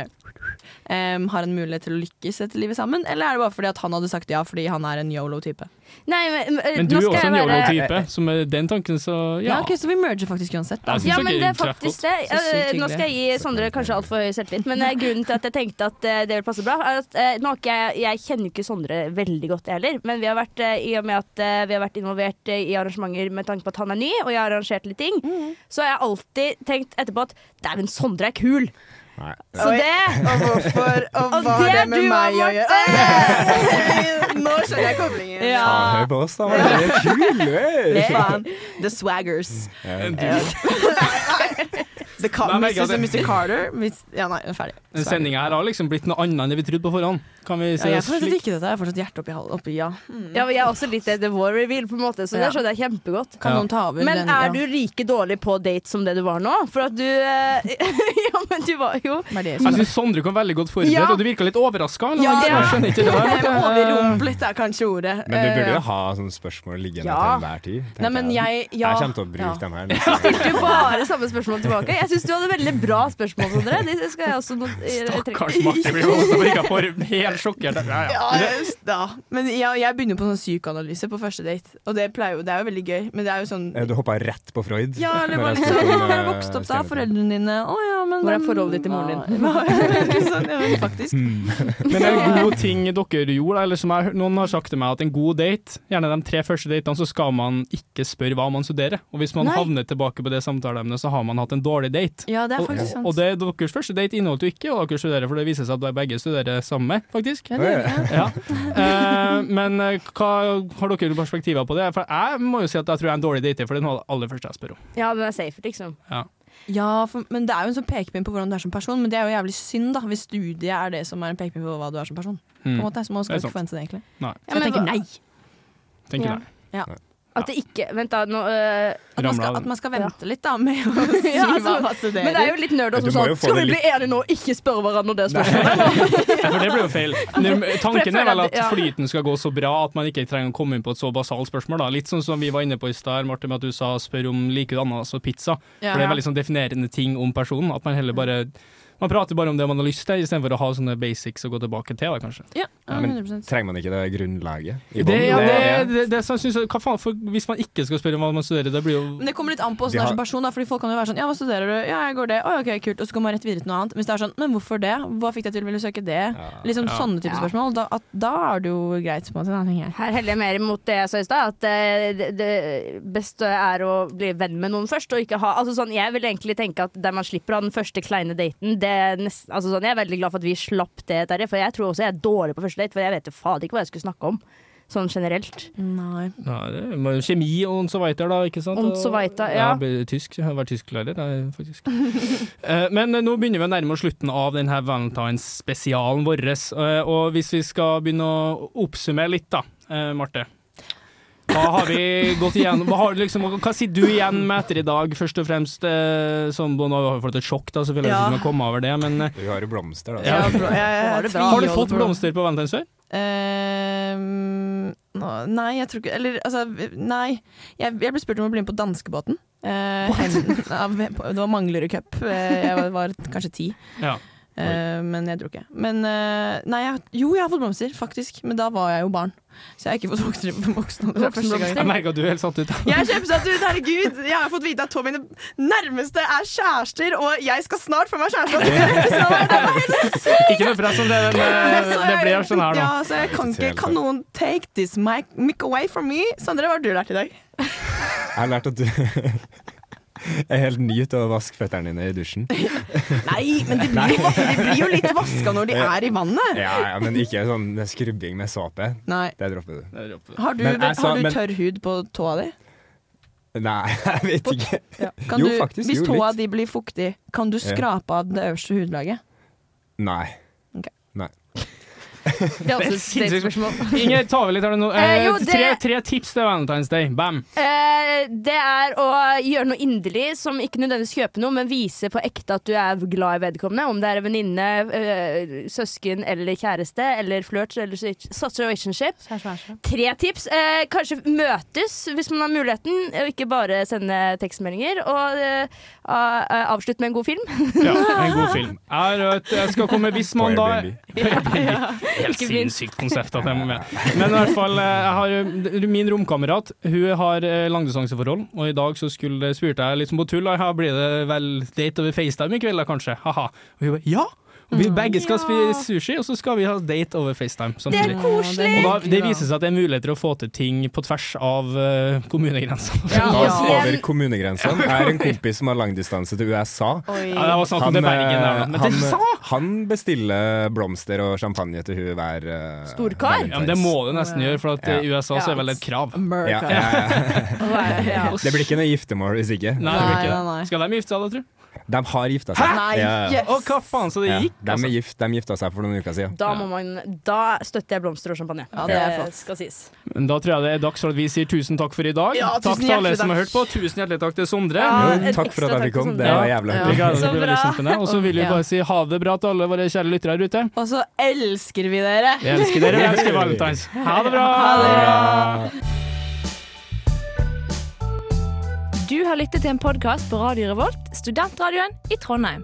[SPEAKER 4] em, har en mulighet til å lykkes dette livet sammen, eller er det bare fordi at han hadde sagt ja fordi han er en yolo-type?
[SPEAKER 5] Nei, men, eh,
[SPEAKER 3] Men du
[SPEAKER 5] nå
[SPEAKER 3] er
[SPEAKER 5] skal
[SPEAKER 3] også
[SPEAKER 5] jeg
[SPEAKER 3] en
[SPEAKER 5] være-
[SPEAKER 3] yolo-type, så med den tanken så ja.
[SPEAKER 4] Ja, ok, Så vi merger faktisk uansett, da.
[SPEAKER 3] Jeg synes
[SPEAKER 5] Ja,
[SPEAKER 3] dere
[SPEAKER 5] men det er
[SPEAKER 3] treffer godt.
[SPEAKER 5] faktisk det.
[SPEAKER 4] Så sykt
[SPEAKER 5] Eh, Nå skal jeg gi Sondre kanskje altfor høy selvtillit, men eh, grunnen til at jeg tenkte at eh, det vil passe bra, er at eh, nå har ikke jeg, jeg kjenner jo ikke Sondre veldig godt jeg heller, men vi har vært, eh, i og med at eh, vi har vært involvert eh, i arrangementer med tanke på at han er ny, og jeg har arrangert litt ting,
[SPEAKER 8] Mm.
[SPEAKER 5] så har jeg alltid tenkt etterpå at dæven, Sondre er kul.
[SPEAKER 8] Nei.
[SPEAKER 5] Så
[SPEAKER 4] Oi.
[SPEAKER 5] det
[SPEAKER 4] Og hvorfor? Og
[SPEAKER 5] hva har det med meg å gjøre?
[SPEAKER 4] Nå skjønner jeg koblingen.
[SPEAKER 5] Ja.
[SPEAKER 8] Faen, hør på oss, da. Det er kul! ey.
[SPEAKER 4] Faen. The swaggers.
[SPEAKER 8] Ja.
[SPEAKER 4] Ja. The Car
[SPEAKER 3] Nei, men ikke at
[SPEAKER 4] Mrs.
[SPEAKER 3] det-
[SPEAKER 4] and Mr. Carter. Miss, ja, nei, ferdig.
[SPEAKER 3] Den sendinga her har liksom blitt noe annet enn det vi trodde på forhånd. Kan vi
[SPEAKER 4] Ja,
[SPEAKER 3] se
[SPEAKER 4] jeg
[SPEAKER 3] oss
[SPEAKER 4] forstår
[SPEAKER 3] slik?
[SPEAKER 4] ikke dette. Jeg har fortsatt hjertet oppi halen. Oppi, ja.
[SPEAKER 5] Ja, men jeg er også litt det war reveal, på en måte, så
[SPEAKER 4] Ja.
[SPEAKER 5] det skjønner jeg kjempegodt.
[SPEAKER 4] Kan noen ta over
[SPEAKER 5] Men
[SPEAKER 4] den?
[SPEAKER 5] er du like dårlig på date som det du var nå? For at du eh, Ja, men du var jo
[SPEAKER 3] Jeg syns Sondre kom veldig godt forberedt,
[SPEAKER 5] Ja.
[SPEAKER 3] og du virka litt overraska.
[SPEAKER 5] Ja,
[SPEAKER 3] Jeg skjønner ikke det der. borte.
[SPEAKER 4] Overrumplet er kanskje ordet.
[SPEAKER 8] Men du burde
[SPEAKER 4] Eh,
[SPEAKER 8] jo ha sånne spørsmål liggende
[SPEAKER 4] Ja.
[SPEAKER 8] til enhver tid. tenker
[SPEAKER 4] Nei, men jeg ja,
[SPEAKER 8] Jeg kommer til å bruke
[SPEAKER 4] ja.
[SPEAKER 8] dem her. neste gang.
[SPEAKER 5] Stilte jo bare samme spørsmål tilbake. Jeg syns du hadde veldig bra spørsmål, Sondre. Det skal jeg også
[SPEAKER 3] Stakkars Marte blir jo også virka for helt sjokkert. Ja, ja.
[SPEAKER 4] Ja, jeg- ja. Men jeg, jeg begynner på sånn psykoanalyse på første date, og det, pleier jo, det er jo veldig gøy. Men det er jo sånn
[SPEAKER 8] Eh, Du hoppa rett på Freud.
[SPEAKER 4] Ja, eller
[SPEAKER 8] når
[SPEAKER 4] bare
[SPEAKER 8] jeg
[SPEAKER 4] litt
[SPEAKER 8] snakket
[SPEAKER 4] sånn
[SPEAKER 8] om,
[SPEAKER 4] Hvordan har du
[SPEAKER 8] eh,
[SPEAKER 4] vokst opp, da?
[SPEAKER 8] stjernetegn.
[SPEAKER 4] Foreldrene dine? Å ja, men
[SPEAKER 5] Hvordan er
[SPEAKER 4] hvem-
[SPEAKER 5] forholdet ditt til moren din?
[SPEAKER 4] Hva- sånn, ja, men faktisk.
[SPEAKER 3] Men en god ting dere gjorde, eller som jeg, noen har sagt til meg, at en god date, gjerne de tre første datene, så skal man ikke spørre hva man studerer. Og hvis man
[SPEAKER 4] Nei.
[SPEAKER 3] havner tilbake på det samtaleemnet, så har man hatt en dårlig date.
[SPEAKER 4] Ja, det er
[SPEAKER 3] Og,
[SPEAKER 4] faktisk sant.
[SPEAKER 3] og det deres første date inneholdt jo ikke hva dere studerer, for det viser seg at dere begge studerer sammen, faktisk.
[SPEAKER 4] Ja, det gjør jeg.
[SPEAKER 3] Ja. Eh, men eh, hva har dere perspektiver på det? For jeg må jo si at jeg tror jeg er en dårlig dater, for det er noe av det aller første jeg spør om.
[SPEAKER 5] Ja, den er safe, liksom.
[SPEAKER 3] Ja.
[SPEAKER 4] Ja, for, men det er jo en sånn pekepinn på hvordan du er som person, men det er jo jævlig synd da hvis studiet er det som er en pekepinn på hva du er som person. På en
[SPEAKER 3] Mm.
[SPEAKER 4] måte, Så man skal
[SPEAKER 3] Det er
[SPEAKER 4] ikke forvente det, egentlig.
[SPEAKER 3] Nei,
[SPEAKER 4] Så jeg tenker nei.
[SPEAKER 3] tenker
[SPEAKER 5] Ja.
[SPEAKER 3] jeg.
[SPEAKER 4] Ja.
[SPEAKER 5] At det ikke Vent, da. Nå, øh,
[SPEAKER 4] At man,
[SPEAKER 3] Ramla
[SPEAKER 4] skal,
[SPEAKER 3] av
[SPEAKER 4] at
[SPEAKER 3] den.
[SPEAKER 4] man skal vente litt, da, med å si
[SPEAKER 5] Ja,
[SPEAKER 4] hva
[SPEAKER 5] altså,
[SPEAKER 4] man studerer.
[SPEAKER 5] men det er jo litt nerd
[SPEAKER 8] Ja,
[SPEAKER 5] også,
[SPEAKER 8] du må
[SPEAKER 5] sånn.
[SPEAKER 8] jo få
[SPEAKER 5] Skal
[SPEAKER 8] det
[SPEAKER 5] vi bli enige nå? Ikke spørre hverandre om det spørsmålet.
[SPEAKER 3] Ja, for det blir jo feil. Men Tanken er vel at
[SPEAKER 5] Ja.
[SPEAKER 3] flyten skal gå så bra at man ikke trenger å komme inn på et så basalt spørsmål. Da. Litt sånn som vi var inne på i stad, Marte, med at du sa spør om liker du ananas og pizza.
[SPEAKER 4] Ja.
[SPEAKER 3] For det er veldig sånn definerende ting om personen. At man heller bare man prater bare om det man har lyst til, istedenfor å ha sånne basics å gå tilbake til, da, kanskje.
[SPEAKER 4] ja, ja,
[SPEAKER 8] Men
[SPEAKER 4] 100
[SPEAKER 8] trenger man ikke det grunnlaget? i
[SPEAKER 3] Det,
[SPEAKER 8] bånn?
[SPEAKER 3] ja, det,
[SPEAKER 8] Det-
[SPEAKER 3] det, det, så jeg synes, hva faen, for Hvis man ikke skal spørre om hva man studerer, det blir jo
[SPEAKER 4] Men det kommer litt an på
[SPEAKER 8] De
[SPEAKER 4] hvordan du er
[SPEAKER 8] har-
[SPEAKER 4] som person. Da, fordi folk kan jo være sånn Ja, hva studerer du? Ja, jeg går det. Å, ok, kult. Og så går man rett videre til noe annet. Hvis det er sånn Men hvorfor det? Hva fikk deg til å ville søke det? Liksom
[SPEAKER 3] Ja.
[SPEAKER 4] sånne type spørsmål. Da, at, da er det jo greit, på en måte. Da, tenker jeg.
[SPEAKER 5] Her heller jeg mer mot det jeg sa i stad, at eh, det, det beste er å bli venn med noen først. Og ikke ha, altså sånn, jeg vil egentlig tenke at der man slipper å ha den første kleine daten det er nesten, altså sånn, Jeg er veldig glad for at vi slapp det der, for jeg tror også jeg er dårlig på første date. For jeg vet jo fader ikke hva jeg skulle snakke om, sånn generelt.
[SPEAKER 4] Nei.
[SPEAKER 3] ja, det, er jo Kjemi og så weiter, da, ikke sant?
[SPEAKER 5] Und so weiter, ja.
[SPEAKER 3] Jeg ble tysk, jeg har vært tysklærer, jeg, faktisk. Eh, Men eh, nå begynner vi å nærme oss slutten av denne Valentine's-spesialen vår. Eh, Og hvis vi skal begynne å oppsummere litt, da, eh, Marte. Hva har vi gått igjennom? Hva, har, du liksom, hva sitter du igjen med etter i dag, først og fremst? eh, Sånn, nå har vi fått et sjokk, da, selvfølgelig,
[SPEAKER 4] Ja.
[SPEAKER 3] som har kommet over det, men eh,
[SPEAKER 8] Vi har jo blomster, da.
[SPEAKER 3] Ja.
[SPEAKER 4] Ja, bra. Jeg, jeg,
[SPEAKER 5] Var det bra?
[SPEAKER 4] tviholder
[SPEAKER 3] har du fått
[SPEAKER 4] på det.
[SPEAKER 3] blomster på Valentine's før?
[SPEAKER 4] Eh, nå- nei, jeg tror ikke Eller altså, nei. Jeg, jeg ble spurt om å bli med på danskebåten. Eh, en- av- det var Manglerud Cup. Eh, jeg var, var kanskje ti,
[SPEAKER 3] Ja.
[SPEAKER 4] eh, men jeg dro ikke. Men eh, nei, jeg, jo, jeg har fått blomster, faktisk. Men da var jeg jo barn. Så jeg har ikke fått voksen- voksen alder for første
[SPEAKER 3] Jeg
[SPEAKER 4] gang.
[SPEAKER 3] merker at du er helt satt ut.
[SPEAKER 4] Jeg er kjempesatt ut, herregud! Jeg har fått vite at to av mine nærmeste er kjærester, og jeg skal snart få meg kjæreste! og så skal jeg være der.
[SPEAKER 3] Ikke noe press om det, men eh,
[SPEAKER 4] Så
[SPEAKER 3] det
[SPEAKER 4] jeg-
[SPEAKER 3] blir sånn her nå.
[SPEAKER 4] Ja, så jeg kan, ikke, kan noen take this mic, mic away from me? Sondre, hva har du lært i dag?
[SPEAKER 8] Jeg har lært at du er helt ny til å vaske føttene dine i dusjen.
[SPEAKER 4] Nei, men de blir, jo- de blir jo litt vaska når de er i vannet.
[SPEAKER 8] Ja, ja, Men ikke sånn med skrubbing med såpe.
[SPEAKER 4] Nei.
[SPEAKER 8] Det dropper du.
[SPEAKER 4] Har du,
[SPEAKER 8] Men jeg sa-
[SPEAKER 4] har du
[SPEAKER 8] men-
[SPEAKER 4] tørr hud på tåa di?
[SPEAKER 8] Nei, jeg vet ikke.
[SPEAKER 4] Kan
[SPEAKER 8] Jo,
[SPEAKER 4] du,
[SPEAKER 8] faktisk,
[SPEAKER 4] hvis
[SPEAKER 8] jo,
[SPEAKER 4] tåa
[SPEAKER 8] litt.
[SPEAKER 4] di blir fuktig, kan du
[SPEAKER 8] Ja.
[SPEAKER 4] skrape av det øverste hudlaget?
[SPEAKER 8] Nei.
[SPEAKER 4] Ok.
[SPEAKER 8] Nei.
[SPEAKER 5] Det er også et datespørsmål.
[SPEAKER 3] Inger, ta over litt her nå.
[SPEAKER 5] Eh,
[SPEAKER 3] Eh,
[SPEAKER 5] jo, det-
[SPEAKER 3] tre, tre tips til Valentine's Day. Bam!
[SPEAKER 5] Eh, det er å gjøre noe inderlig som ikke nødvendigvis kjøper noe, men vise på ekte at du er glad i vedkommende. Om det er en venninne, eh, søsken eller kjæreste, eller flørt eller sit- situationship. Tre tips. Eh, kanskje møtes hvis man har muligheten, og ikke bare sende tekstmeldinger. Og eh, a- a- avslutt med en god film.
[SPEAKER 3] Ja, en god film. Jeg, har et- jeg skal komme hvis man da
[SPEAKER 8] Airbnb.
[SPEAKER 3] Helt sinnssykt konsept at jeg må med. Men i hvert fall, eh, jeg har, min romkamerat hun har eh, langdistanseforhold, og i dag så skulle, eh, spurte jeg litt som på tull da, «Ja, blir det vel date over FaceTime i kveld da, kanskje. Haha. Og hun bare ja! Og vi begge skal spise sushi, og så skal vi ha date over FaceTime
[SPEAKER 5] Mm. Det er
[SPEAKER 3] samtidig.
[SPEAKER 5] koselig!
[SPEAKER 3] Og da, det viser seg at det er muligheter å få til ting på tvers av eh, kommunegrensene.
[SPEAKER 8] La oss
[SPEAKER 5] Ja.
[SPEAKER 8] over kommunegrensene. Jeg har en kompis som har langdistanse til USA.
[SPEAKER 3] Ja, det var snakk om det Bergen der, da.
[SPEAKER 8] eh,
[SPEAKER 3] Men det
[SPEAKER 8] han,
[SPEAKER 3] sa
[SPEAKER 8] han bestiller blomster og champagne til hun hver eh,
[SPEAKER 5] Storkar?
[SPEAKER 3] Ja, men det må du nesten gjøre, for at
[SPEAKER 8] Ja.
[SPEAKER 3] i USA så er vel et krav.
[SPEAKER 8] ja,
[SPEAKER 4] America.
[SPEAKER 8] ja, ja.
[SPEAKER 5] Ja.
[SPEAKER 8] Det blir ikke noe giftermål hvis ikke.
[SPEAKER 3] Nei, det blir
[SPEAKER 4] Nei,
[SPEAKER 3] ikke
[SPEAKER 4] nei, nei.
[SPEAKER 3] det. Skal de gifte seg da, tro?
[SPEAKER 8] De har gifta seg.
[SPEAKER 1] Hæ? Nei, yes. Å, hva faen, så det
[SPEAKER 8] Ja,
[SPEAKER 1] gikk,
[SPEAKER 3] altså.
[SPEAKER 1] altså.
[SPEAKER 8] De, er gift, de gifta seg for noen uker siden.
[SPEAKER 1] Da, må man, da støtter jeg blomster og champagne.
[SPEAKER 8] Ja, det er flott.
[SPEAKER 1] skal sies.
[SPEAKER 3] Men da tror jeg det er dags for at vi sier tusen takk for i dag.
[SPEAKER 1] Ja,
[SPEAKER 3] takk
[SPEAKER 1] tusen
[SPEAKER 3] til alle
[SPEAKER 1] hjertelig
[SPEAKER 3] som har
[SPEAKER 1] takk.
[SPEAKER 3] hørt på. Tusen hjertelig takk til Sondre.
[SPEAKER 1] Ja, Jo, en takk for ekstra at jeg takk sånn. fikk til komme. Sondre. Det var jævlig
[SPEAKER 3] Ja.
[SPEAKER 1] hyggelig.
[SPEAKER 3] Ja, det
[SPEAKER 1] Så
[SPEAKER 3] ble veldig
[SPEAKER 1] bra.
[SPEAKER 3] kjempende. Og så vil vi
[SPEAKER 1] Ja.
[SPEAKER 3] bare si ha det bra til alle våre kjære lyttere her ute.
[SPEAKER 4] Og så elsker vi dere!
[SPEAKER 3] Vi elsker dere, vi elsker Valentines. Ha det bra!
[SPEAKER 4] Ha det bra!
[SPEAKER 5] Du har lyttet til en podkast på Radio Revolt, studentradioen i Trondheim.